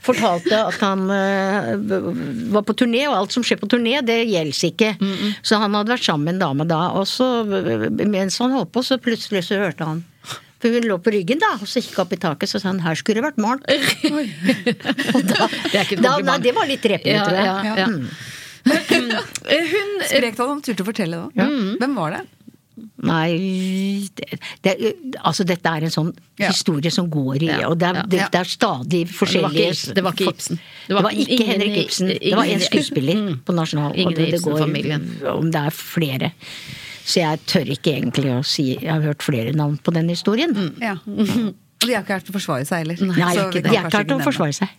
E: fortalte at han eh, var på turné, og alt som skjer på turné, det gjelder ikke. Så han hadde vært sammen med en dame da, og så eh, mens han holdt på, så plutselig så hørte han
H: For hun lå på ryggen da, og så gikk hun opp i taket så sa hun 'her skulle det vært morgen'. Og da,
D: Det er ikke et
H: da,
D: kompliment.
H: nei, det var litt repende,
D: Ja,
H: tror jeg.
D: ja, ja.
H: Mm.
D: Hun
B: Sprekt at han turte å fortelle det. Hvem var det?
H: Nei det, det, Altså, dette er en sånn
B: Ja.
H: historie som går i
D: Ja,
H: Og det er,
D: ja.
H: det, det er stadig forskjellige
D: Ibsen- det var ikke Ibsen.
H: Det var, ikke
D: ingen
H: Henrik
D: i-
H: Ibsen.
D: ingen
H: Det var en
D: i-
H: skuespiller
D: Mm.
H: på Nasjonal.
D: Ingen i
H: det- det går-
D: Ibsen-familien.
H: Om det er flere. Så jeg tør ikke egentlig å si Jeg har hørt flere navn på den historien.
D: Mm.
B: Ja. Og de har ikke vært til å forsvare seg heller.
H: Nei,
B: så vi kan
H: ikke, de er
B: kanskje ikke
H: klart å
B: nevne.
H: forsvare seg.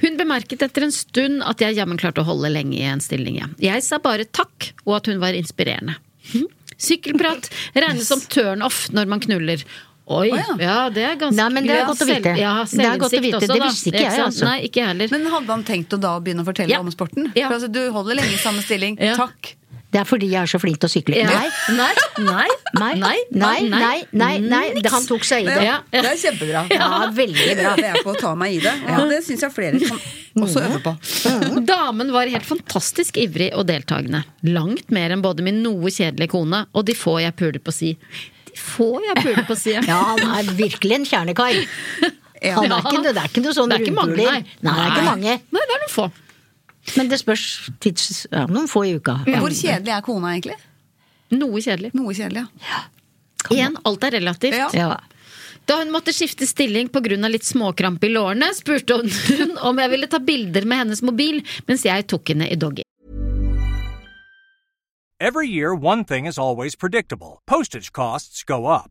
D: Hun bemerket etter en stund at jeg jammen klarte å holde lenge i en stilling. Jeg, jeg sa bare takk, og at hun var inspirerende. Hm? Sykkelprat regnes som turn-off når man knuller. Oi!
B: Å, ja.
D: ja. det er ganske
H: Nei, men det er
D: Ja,
H: godt å vite.
D: selv- Ja,
H: Det er godt å
D: selvinnsikt
H: vite.
D: også,
H: Det
D: da.
H: visste ikke jeg,
D: sant?
H: altså.
D: Nei, ikke jeg heller.
B: Men hadde han tenkt å da begynne å fortelle
D: Ja.
B: om sporten?
D: Ja.
B: For altså, du holder lenge i samme stilling.
D: Ja.
B: Takk.
H: Det er fordi jeg er så flink til å sykle.
D: Ja.
H: Nei,
D: nei, nei,
H: nei, nei, nei, nei, nei, Han tok seg i det.
D: Ja.
B: Det er kjempebra.
H: Ja, veldig bra.
B: Det er på å ta meg i det. Og det syns jeg flere kan også øve på.
D: Damen var helt fantastisk ivrig og deltakende. Langt mer enn både min noe kjedelige kone og de få jeg puler på si. De få jeg puler på si.
H: Ja, han er virkelig en kjernekar.
B: Ja.
H: Han er ikke, det er ikke noe sånn
D: Det er ikke mange,
H: rundpuler.
D: nei.
H: Nei, det er ikke mange.
D: Nei, det er noen få.
H: Men det spørs tids... Ja, noen få i uka.
B: Men Hvor kjedelig er kona egentlig?
D: Noe kjedelig.
B: Noe kjedelig, ja.
D: Igjen, alt er relativt.
B: Ja.
H: Ja.
D: Da hun måtte skifte stilling pga. litt småkrampe i lårene, spurte hun om jeg ville ta bilder med hennes mobil mens jeg tok henne i doggy.
I: Every year, one thing is always predictable postage costs go up.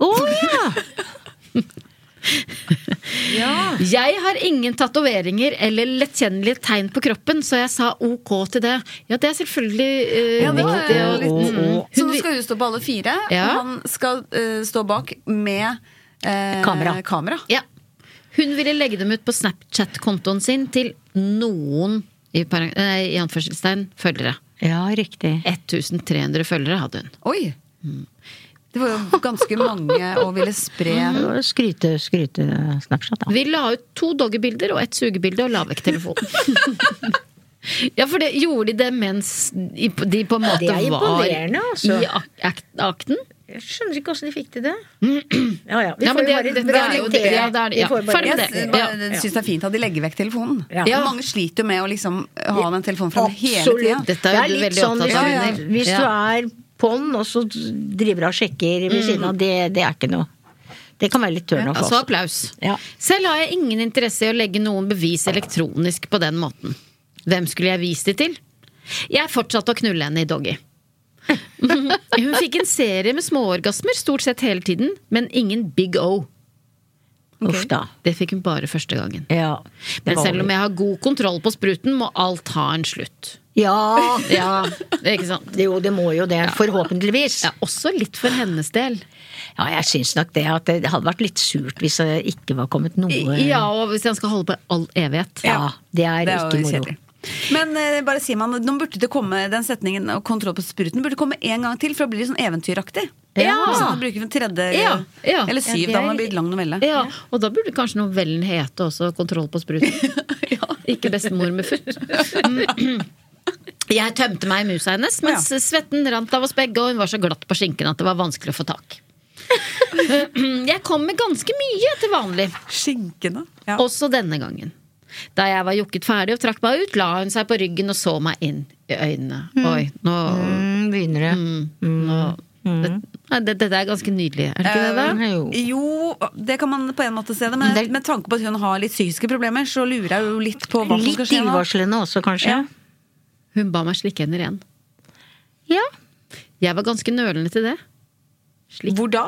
H: Å ja!
D: Jeg har ingen tatoveringer eller lettkjennelige tegn på kroppen, så jeg sa ok til det. Ja, det er selvfølgelig eh,
B: Ja, det var
D: viktig.
B: jo
D: og-
B: litt-
D: Mm, mm.
B: Så
D: Hun
B: nå
D: vi-
B: skal hun stå på alle fire,
D: Ja.
B: og han skal eh, stå bak med eh,
H: Kamera.
D: Ja. Hun ville legge dem ut på Snapchat-kontoen sin til noen i, parang- nei, i anførselstegn følgere.
H: Ja, riktig.
D: 1300 følgere hadde hun.
B: Oi! Det var jo ganske mange å ville spre
D: Mm.
H: Det var Skryte, skryte Snapchat, da.
D: Vi la ut to doggebilder og ett sugebilde og la vekk telefonen. Ja, for det gjorde de det mens de på de på en måte
H: Det er
D: var
H: imponerende, altså.
D: i ak ak- akten.
H: Jeg skjønner ikke åssen de fikk til det. Ja ja. Vi
D: Ja, men
H: får jo
D: det-
H: bare
D: det- det er jo det-
H: reflektere.
D: ja, det er det,
H: Vi
D: ja.
H: får bare
D: Ferdig med
B: Jeg
D: det.
H: reflektere.
B: s-
D: Ja.
B: bare syns det er fint at de legger vekk telefonen.
H: Ja.
B: For Mange sliter jo med å liksom ha den telefonen fram hele
H: Absolutt.
B: tida.
D: Dette er jo
H: Det
D: du
H: litt
D: veldig opptatt av,
H: hvis-
D: Gunnhild.
H: Hvis du
D: Ja. Mm.
H: er på'n, og så driver og sjekker ved siden av, det, det er ikke noe. Det kan være litt turn off.
D: Altså
H: også.
D: applaus.
H: Ja.
D: Selv har jeg ingen interesse i å legge noen bevis elektronisk på den måten. Hvem skulle jeg vist det til? Jeg fortsatte å knulle henne i doggy. Hun fikk en serie med småorgasmer stort sett hele tiden, men ingen Big O.
H: Uff da.
D: Det fikk hun bare første gangen.
H: Ja.
D: Men selv om jeg har god kontroll på spruten, må alt ha en slutt.
H: Ja!
D: Ja, ikke sant?
H: Det, jo, det må jo det. Forhåpentligvis.
D: Ja, også litt for hennes del.
H: Ja, jeg syns nok det at det hadde vært litt surt hvis det ikke var kommet noe
D: Ja, og hvis han skal holde på i all evighet.
H: Ja, det er
B: Det er
H: ikke
B: jo
H: moro.
B: kjedelig. Men eh, bare sier man, nå burde det komme den setningen om kontroll på spruten burde komme en gang til, for da blir det sånn eventyraktig.
D: Ja.
B: Så man bruker en tredje
D: Ja, ja.
B: eller syv,
H: Ja, det
B: da
H: er-
B: man har blitt lang novelle.
D: Ja, og da burde kanskje novellen hete også 'Kontroll på spruten'. Ikke 'Bestemor med futt'. Mm. Jeg tømte meg i musa hennes, mens svetten rant av oss begge, og hun var så glatt på skinken at det var vanskelig å få tak. Jeg kom med ganske mye til vanlig.
B: Skinkene. Ja.
D: Også denne gangen. Da jeg var jukket ferdig og trakk meg ut, la hun seg på ryggen og så meg inn i øynene. Oi, nå,
H: Mm, begynner det.
D: nå det, Nei, det, Dette er ganske nydelig, er det ikke det? da?
H: Jo.
B: Jo, det kan man på en måte se det, men
H: Det er-
B: med tanke på at hun har litt psykiske problemer, så lurer jeg jo litt på hva som
H: Litt
B: skal skje nå.
H: illevarslende også, kanskje.
B: Ja.
D: Hun ba meg slikke henne ren.
H: Ja.
D: Jeg var ganske nølende til det. Slik,
B: Hvor da?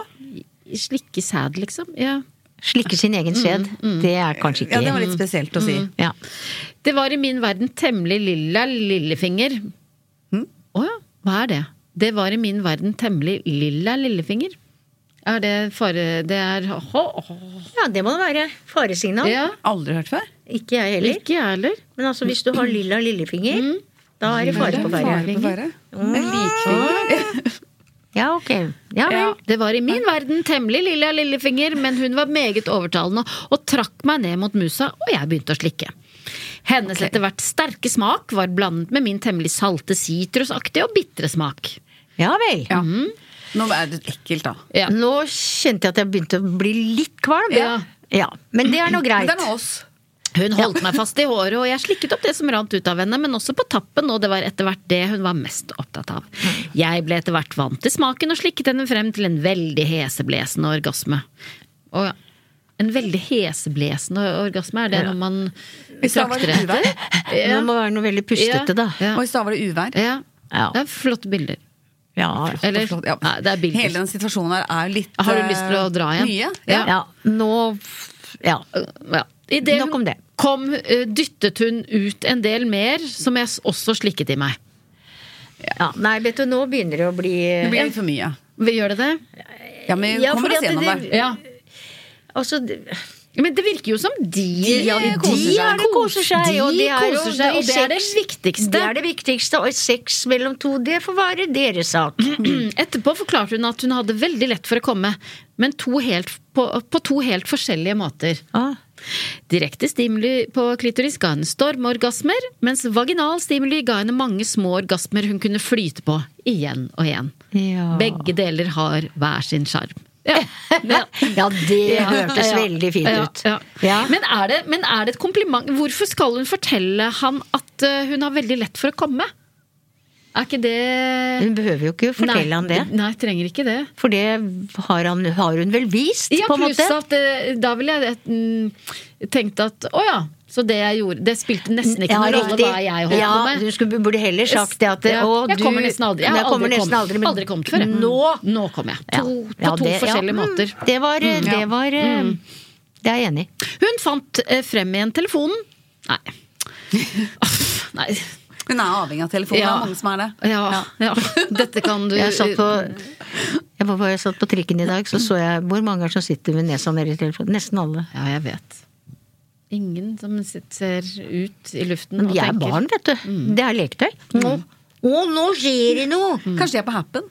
D: slikke sæd, liksom. Ja.
H: Slikke sin
D: Mm,
H: egen sæd. Det er kanskje
B: Ja,
H: ikke
B: det var litt spesielt å si.
H: ja.
D: Det var i min verden temmelig lilla lillefinger.
H: Hm?
D: Å ja, hva er det? Det var i min verden temmelig lilla lillefinger. Er det fare... Det er ho, ho.
E: Ja, det må det være. Faresignal.
D: Ja.
G: Aldri hørt før.
E: Ikke jeg heller.
D: Ikke jeg heller.
E: Men altså, hvis du har lilla lillefinger,
D: Mm.
E: da er det
G: Det
E: fare
G: er
E: på
G: fare
E: ferde.
G: på ferde. Men likfinger
E: Ja, ok. Ja vel.
D: Ja, det var i min verden temmelig lilla lillefinger, men hun var meget overtalende og trakk meg ned mot musa, og jeg begynte å slikke. Hennes etter hvert sterke smak var blandet med min temmelig salte sitrusaktige og bitre smak.
E: Ja vel.
G: Nå er det ekkelt, da.
D: Ja.
E: Nå kjente jeg at jeg begynte å bli litt kvalm.
D: Ja.
E: Ja, Men det er nå
G: Men
E: greit.
G: det er med oss.
D: Hun holdt meg fast i håret, og jeg slikket opp det som rant ut av henne, men også på tappen, og det var etter hvert det hun var mest opptatt av. Jeg ble etter hvert vant til smaken og slikket henne frem til en veldig heseblesende orgasme. Og ja, en veldig heseblesende orgasme, er det noe man
G: Hvis det var
D: trakter etter?
E: Det må være noe veldig pustete, da.
D: Ja.
G: Og i stad var det uvær.
D: Ja.
E: Ja.
D: Det er flotte bilder.
E: Ja.
D: Eller
G: Forstått, ja.
D: Nei, det er bilder.
G: Hele den situasjonen her er litt
D: Har du lyst til
B: eh,
D: å dra igjen?
G: Mye.
D: Ja.
E: ja. Nå Ja.
D: ja. I det
E: Nok om det.
D: hun kom, eh, dyttet hun ut en del mer, som jeg s- også slikket i meg.
E: ja. Nei, vet du, nå begynner det å bli
G: Det blir litt for mye.
D: Gjør det det?
G: Ja, men vi
E: Ja,
G: kommer
E: fordi at
G: oss gjennom
E: det-
G: det.
D: Ja.
E: Altså, det-
D: Men det virker jo som de
E: ja, de
G: koser seg.
E: er det koser seg.
D: De
E: og det er jo-
D: koser seg, og det er det
E: sex-
D: viktigste.
E: Det er det viktigste. Og sex mellom to, det får være deres sak.
D: Mm, Etterpå forklarte hun at hun hadde veldig lett for å komme, men to helt, på, på to helt forskjellige måter.
E: Ah.
D: Direkte stimuli på klitoris ga henne stormorgasmer, mens vaginal stimuli ga henne mange små orgasmer hun kunne flyte på igjen og igjen.
E: Ja.
D: Begge deler har hver sin sjarm. Ja.
E: Ja, det
D: Ja,
E: hørtes
D: ja,
E: veldig fint
D: ja,
E: ut.
D: ja.
E: Ja.
D: Men, er det, men er det et kompliment? Hvorfor skal hun fortelle han at eh, hun har veldig lett for å komme? Er ikke det
E: Hun behøver jo ikke fortelle han det.
D: Nei, nei, trenger ikke det.
E: For det har, han, har hun vel vist,
D: Ja,
E: på en
D: pluss
E: måte?
D: at eh, da ville jeg mm, tenkt at å ja, så det jeg gjorde Det spilte nesten ikke
E: Ja,
D: noen rolle
E: riktig.
D: hva jeg holdt
E: ja,
D: på med.
E: Du skulle, burde heller sagt det at
D: Ja,
E: å,
D: jeg
E: du,
D: kommer nesten aldri. Jeg har
E: Jeg kommer
D: aldri,
E: nesten
D: kommet.
E: aldri, men-
D: aldri kommet før. jeg.
E: Nå!
D: Nå kom jeg.
E: Ja.
D: To, på
E: Ja,
D: to
E: det- ja,
D: forskjellige
E: mm,
D: måter.
E: Det var, det,
G: ja.
E: var eh, det er jeg enig i.
D: Hun fant eh, frem igjen telefonen. Nei. Aff, Nei.
G: Hun er avhengig av telefonen. Det
D: Ja.
G: er mange som er det.
D: Ja, ja. Dette kan du
E: Jeg satt på, jeg var på, jeg satt på trikken i dag, så så jeg hvor mange er som sitter med nesa nede i telefonen. Nesten alle.
D: Ja, jeg vet. Ingen som ser ut i luften
E: Men
D: og
E: vi er
D: tenker
E: barn, vet du. Det er leketøy. Mm. Nå. Mm. Å, nå skjer det noe!
G: Kanskje de er på Happen?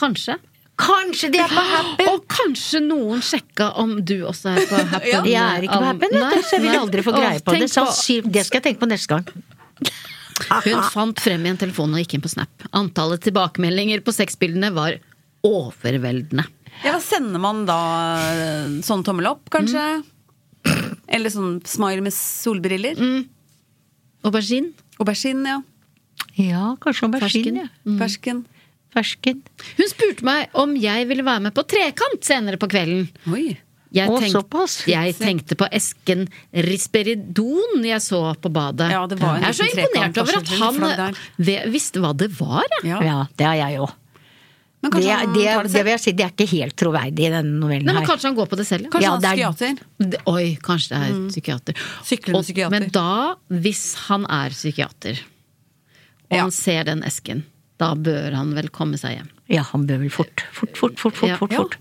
D: Kanskje.
E: Kanskje de er på Happen!
D: Og kanskje noen sjekka om du også er på Happen.
G: Ja,
E: Jeg er ikke på Happen, vet du, så jeg vil aldri få greie på det. Sannsyn- Det skal jeg tenke på neste gang.
D: Hun fant frem igjen telefonen og gikk inn på Snap. Antallet tilbakemeldinger på sexbildene var overveldende.
G: Ja, da sender man da eh, sånn tommel opp, kanskje? Eller sånn smile med solbriller?
D: Aubergine.
G: Aubergine, ja.
E: Ja, kanskje aubergine. ja.
G: Fersken.
E: Fersken.
D: Hun spurte meg om jeg ville være med på Trekant senere på kvelden.
G: Oi.
D: Jeg
E: Å,
D: tenkte,
E: såpass.
D: jeg tenkte på esken risperidon jeg så på badet.
G: Ja, det var en
D: jeg er så
G: liten
D: imponert
G: trekant,
D: over at
G: kanskje,
D: han
G: litt flagg
D: ve- visste hva det var. jeg.
G: Ja.
E: Ja, det har jeg òg.
G: Men
E: Det,
G: kanskje
E: er-
G: han
E: det,
G: tar det
E: det
G: selv?
E: vil jeg si, det er ikke helt troverdig i denne novellen
D: Nei, men
E: her.
D: kanskje han går på det selv?
G: Kanskje
E: Ja,
G: han
E: det
G: er
E: er-
G: psykiater?
D: Det- Oi, kanskje det er psykiater.
G: Syklende
D: Og-
G: psykiater.
D: Men da, hvis han er psykiater, og
G: Ja.
D: han ser den esken, da bør han vel komme seg hjem.
E: Ja, han bør vel fort. Fort, fort, fort. fort,
D: Ja.
E: fort,
D: Ja.
E: fort.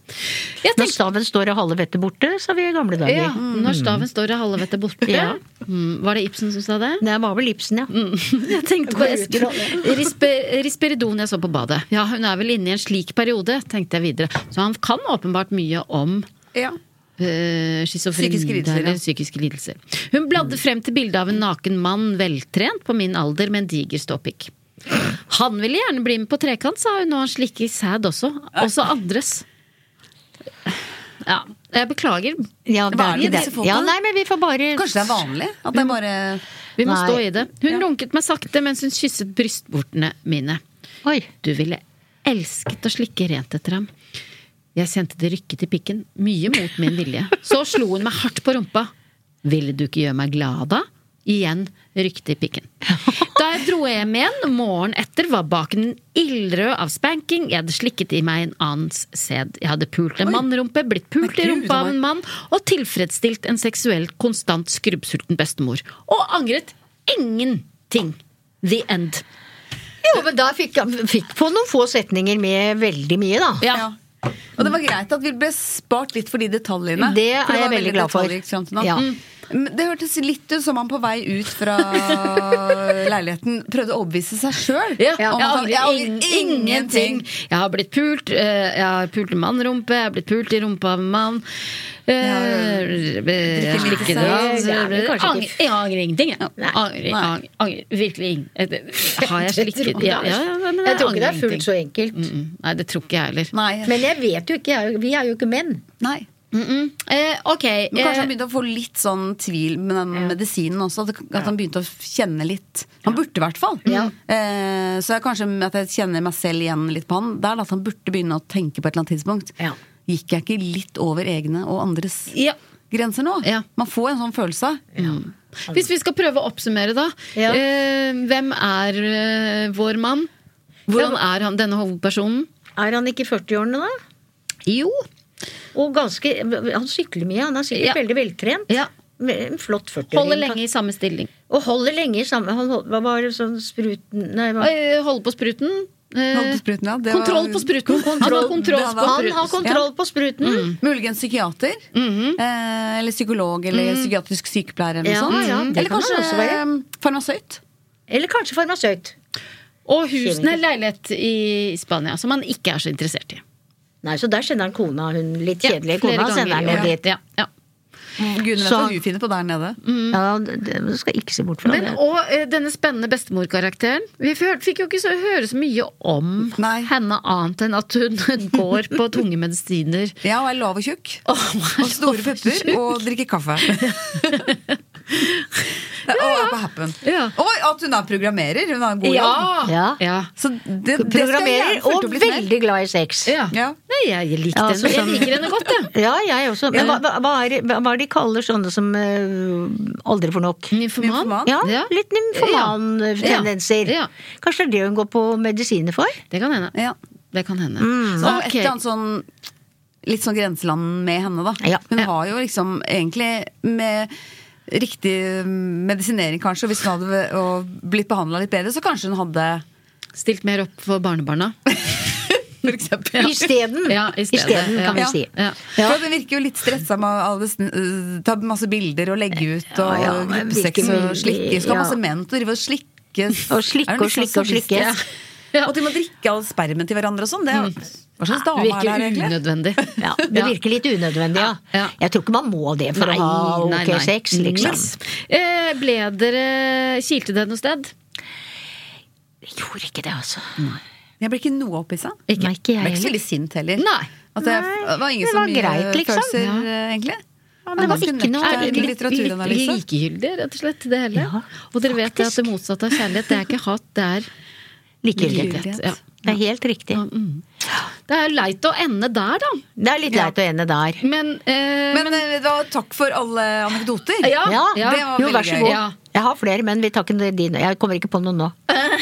D: Jeg
E: Når
D: tenkte,
E: staven står og halve vettet borte, sa vi i gamle dager.
D: ja, når staven står og halve vettet borte
E: Ja.
D: mm, Var det Ibsen som sa det?
E: Det var vel Ibsen, ja.
G: Mm.
D: Jeg tenkte på esken. Rispe- Risperidon jeg så på badet. Ja, hun er vel inne i en slik periode, tenkte jeg videre. Så han kan åpenbart mye om
G: Ja.
D: Eh, schizofreni
G: Psykiske lidelser,
D: eller
G: ja.
D: psykiske lidelser. Hun bladde frem til bildet av en naken mann, veltrent på min alder, med en diger ståpikk. Han ville gjerne bli med på trekant, sa hun, og han slikker sæd også. Også andres. Ja, jeg beklager.
E: Ja, det
G: Hva
E: er
G: er det
E: ikke
G: med
E: det.
G: disse folka?
E: Ja, nei, men vi får bare
G: Kanskje det er vanlig? At det er bare
D: Vi må
E: Nei.
D: stå i det. Hun
G: Ja.
D: runket meg sakte mens hun kysset brystvortene mine.
E: Oi.
D: Du ville elsket å slikke rent etter ham. Jeg kjente det rykket i pikken, mye mot min vilje. Så slo hun meg hardt på rumpa. Ville du ikke gjøre meg glad, da? Igjen rykket i pikken. Da jeg dro hjem igjen morgenen etter, var baken ildrød av spanking. Jeg hadde slikket i meg en annens sæd. Jeg hadde pult en mannrumpe, blitt pult i
G: Gud,
D: rumpa av
G: Omar.
D: en mann og tilfredsstilt en seksuelt konstant skrubbsulten bestemor. Og angret ingenting. The end.
E: Jo, men da fikk, fikk på noen få setninger med veldig mye, da.
D: Ja.
G: Ja. Og det var greit at vi ble spart litt for de detaljene.
E: Det er
G: var
E: jeg veldig glad for.
G: detaljrikt, sant, nå? Mm.
E: Ja.
G: Men Det hørtes litt ut som han på vei ut fra leiligheten prøvde å overbevise seg sjøl.
D: Ja,
G: om at han-
D: jeg angrer
G: jeg angrer
D: ingenting. Jeg har blitt pult. eh, Jeg har pult i mannrumpe, jeg har blitt pult i rumpa av en mann. Eh, eh,
G: lite
D: Slikke det
G: seg.
D: av.
E: Det er vel kanskje
D: Angrer-
E: ikke-
D: Jeg angrer ingenting, jeg.
E: Nei.
D: Angrer-
G: Nei.
D: ang- Angrer virkelig ing- eh, det- Har jeg slikket ja, ja, ja, men
E: Jeg tror ikke det er
D: angrer
E: fullt så enkelt.
D: ingenting. Mm, Nei, det tror ikke jeg heller.
G: Nei.
E: Men jeg vet jo ikke, jeg, er jo- vi er jo ikke menn.
G: Nei.
D: Mm -mm. Eh, ok.
G: Men kanskje han
D: eh,
G: begynte å få litt sånn tvil med den medisinen også. At, at han begynte å kjenne litt. Han burde i hvert fall. Eh, så jeg, kanskje at jeg kjenner meg selv igjen litt på han. Det er at han burde begynne å tenke på et eller annet tidspunkt.
E: Ja.
G: Gikk jeg ikke litt over egne og andres
D: Ja.
G: grenser nå?
D: Ja.
G: Man får en sånn følelse.
D: Hvis vi skal prøve å oppsummere, da.
E: Ja.
D: Eh, hvem er eh, vår mann? Hvordan er han, denne hovedpersonen?
E: Er han ikke i 40-årene da?
D: Jo.
E: Og ganske, han sykler mye, han er sikkert
D: Ja.
E: veldig veltrent.
D: Ja.
E: En flott 40-åring.
D: Holder lenge i samme stilling.
E: Og holder lenge i samme Han hold- hva var det sånn spruten Nei, hva?
D: Eh, Holde på spruten. Eh,
G: Holde på spruten, ja, det var-
D: kontroll på spruten. Han har kontroll
G: Det
D: på
G: var-
E: Han
D: spruten. Mm.
E: har kontroll på spruten!
G: Muligens psykiater. eh, eller psykolog eller psykiatrisk sykepleier eller noe
E: Mm. Ja,
G: sånt. Mm.
E: ja, det
G: eller
E: kan
G: kanskje
E: det også være.
G: eh, farmasøyt.
E: Eller kanskje farmasøyt.
D: Og husene, leilighet i Spania, som han ikke er så interessert i.
E: Nei, så der sender han kona, hun litt
D: Ja,
E: kjedelige
D: flere
E: kona,
D: ganger
E: sender
D: i
E: han
D: år.
E: ned dit.
D: Ja, ja.
G: Gud vet
E: Så-
G: hva hun finner på der nede.
E: Ja, det, det skal jeg ikke se bort fra.
D: Men,
E: det.
D: og eh, denne spennende bestemorkarakteren. Vi f- fikk jo ikke så, høre så mye om
G: Nei.
D: henne annet enn at hun går på tunge medisiner.
G: Ja, og er lav og tjukk.
D: Åh, hva er
G: Og store
D: lav og
G: pupper.
D: tjukk?
G: Og drikker kaffe. Og er på happen.
D: Ja.
G: Og at hun da programmerer. Hun har en god jobb.
D: Ja!
E: Ja.
D: ja.
G: Så det, det skal jeg
E: Programmerer
G: gjerne følge
E: og
G: opp litt mer.
E: veldig glad i sex.
D: ja.
G: Ja.
D: Nei, jeg likte
E: Ja, så
D: henne. Jeg
E: sånn-
D: liker henne godt, jeg.
E: Ja, jeg også. Men hva, hva, hva, er, hva er det de kaller sånne som eh, aldri får
G: Mm.
E: nok?
D: Nymfoman.
G: Nymfoman.
E: Ja,
D: Ja.
E: litt nymfoman-tendenser.
D: Ja. Ja.
E: Kanskje det er det hun går på medisiner for?
D: Det kan hende.
G: Ja. Mm.
D: Det kan hende.
E: Mm.
G: Så
E: Ah,
G: det er et
D: Ok.
G: eller annet sånn Litt sånn grenseland med henne, da.
E: Ja.
G: Hun
E: Ja.
G: har jo liksom egentlig med riktig medisinering, kanskje, og hvis hun hadde ve- og blitt behandla litt bedre, så kanskje hun hadde
D: Stilt mer opp for barnebarna.
G: For eksempel.
E: Isteden,
D: Ja, i stedet,
E: Isteden,
D: ja.
E: kan vi si.
D: Ja.
G: For hun virker jo litt stressa med all det sn- øh, ta masse bilder og legge ut, og
E: ja, men
G: gruppesex
E: virker
G: og
E: veldig-
G: slikke. Skal
E: ja.
G: ha masse menn til å drive og slikke.
E: Og slikke
G: Er
E: og
G: hun litt
E: slikke og
G: sånn
E: slikke.
G: sadistisk? Og til og med drikke all spermen til hverandre og sånn. Det er,
E: Mm.
G: hva
E: Ah,
G: slags dame er det
D: Virker
G: her, egentlig?
D: unødvendig.
E: Ja, det virker litt unødvendig, ja.
D: Ja.
E: Jeg tror ikke man må det for å ha ok sex, liksom.
D: Yes. Eh, ble dere Kilte det noe sted?
E: Jeg gjorde ikke det, altså.
G: Jeg ble ikke noe opphissa.
E: Ikke, Nei, ikke
G: Jeg
E: jeg
G: ble ikke så
E: heller.
G: veldig sint heller.
D: Nei.
G: At det
E: Nei,
G: var ingen
E: det
G: så
E: var
G: mye
E: greit, liksom.
G: følelser,
E: Ja.
G: eh, egentlig.
E: det var
G: Ganske
E: ikke noe-
G: nøktern
E: Er det litt-
G: litteraturanalyse.
D: Litt likegyldig, rett og slett, det hele.
E: Ja,
D: og dere vet at det motsatte av kjærlighet, det er ikke hat, det er
E: Likegyldighet.
D: likegyldighet. Ja.
E: Det er helt riktig.
D: Det er leit å ende der, da.
E: Det er litt leit å ende der.
D: Men, eh,
G: Men, eh, da, takk for alle anekdoter.
D: ja,
E: Ja,
D: ja.
G: det var
E: jo, vær så
G: veldig
E: god.
G: gøy.
D: Ja.
E: Jeg har flere, men vi tar ikke dine. Jeg kommer ikke på noen nå. jeg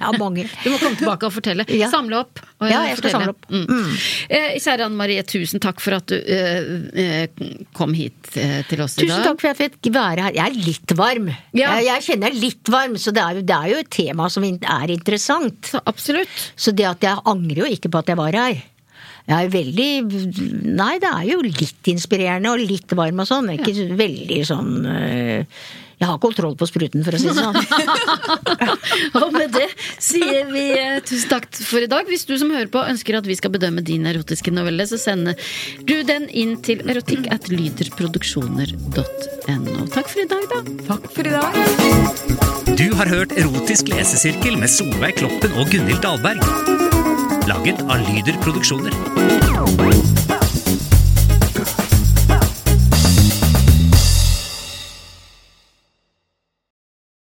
E: har mange.
D: Du må komme tilbake og fortelle.
E: Ja.
D: Samle opp. Og
E: Ja, jeg skal
D: fortelle.
E: samle opp.
D: Mm. Eh, kjære Anne Marie, tusen takk for at du eh, eh, kom hit eh, til oss i
E: Tusen
D: dag.
E: takk for at jeg fikk være her. Jeg er litt varm.
D: Ja.
E: Jeg, jeg kjenner jeg er litt varm, så det er, jo, det er jo et tema som in- er interessant.
D: Så absolutt.
E: Så det at jeg angrer jo ikke på at jeg var her. Jeg er veldig Nei, det er jo litt inspirerende og litt varm og sånn. men Ikke veldig sånn øh, Jeg har kontroll på spruten, for å si det sånn.
D: Og med det sier vi eh, tusen takk for i dag. Hvis du som hører på ønsker at vi skal bedømme din erotiske novelle, så sender du den inn til erotikk at lyderproduksjoner.no. Takk for i dag, da.
G: Takk for i dag.
F: Du har hørt Erotisk lesesirkel med Solveig Kloppen og Gunhild Dahlberg. Laget av Lyder Produksjoner.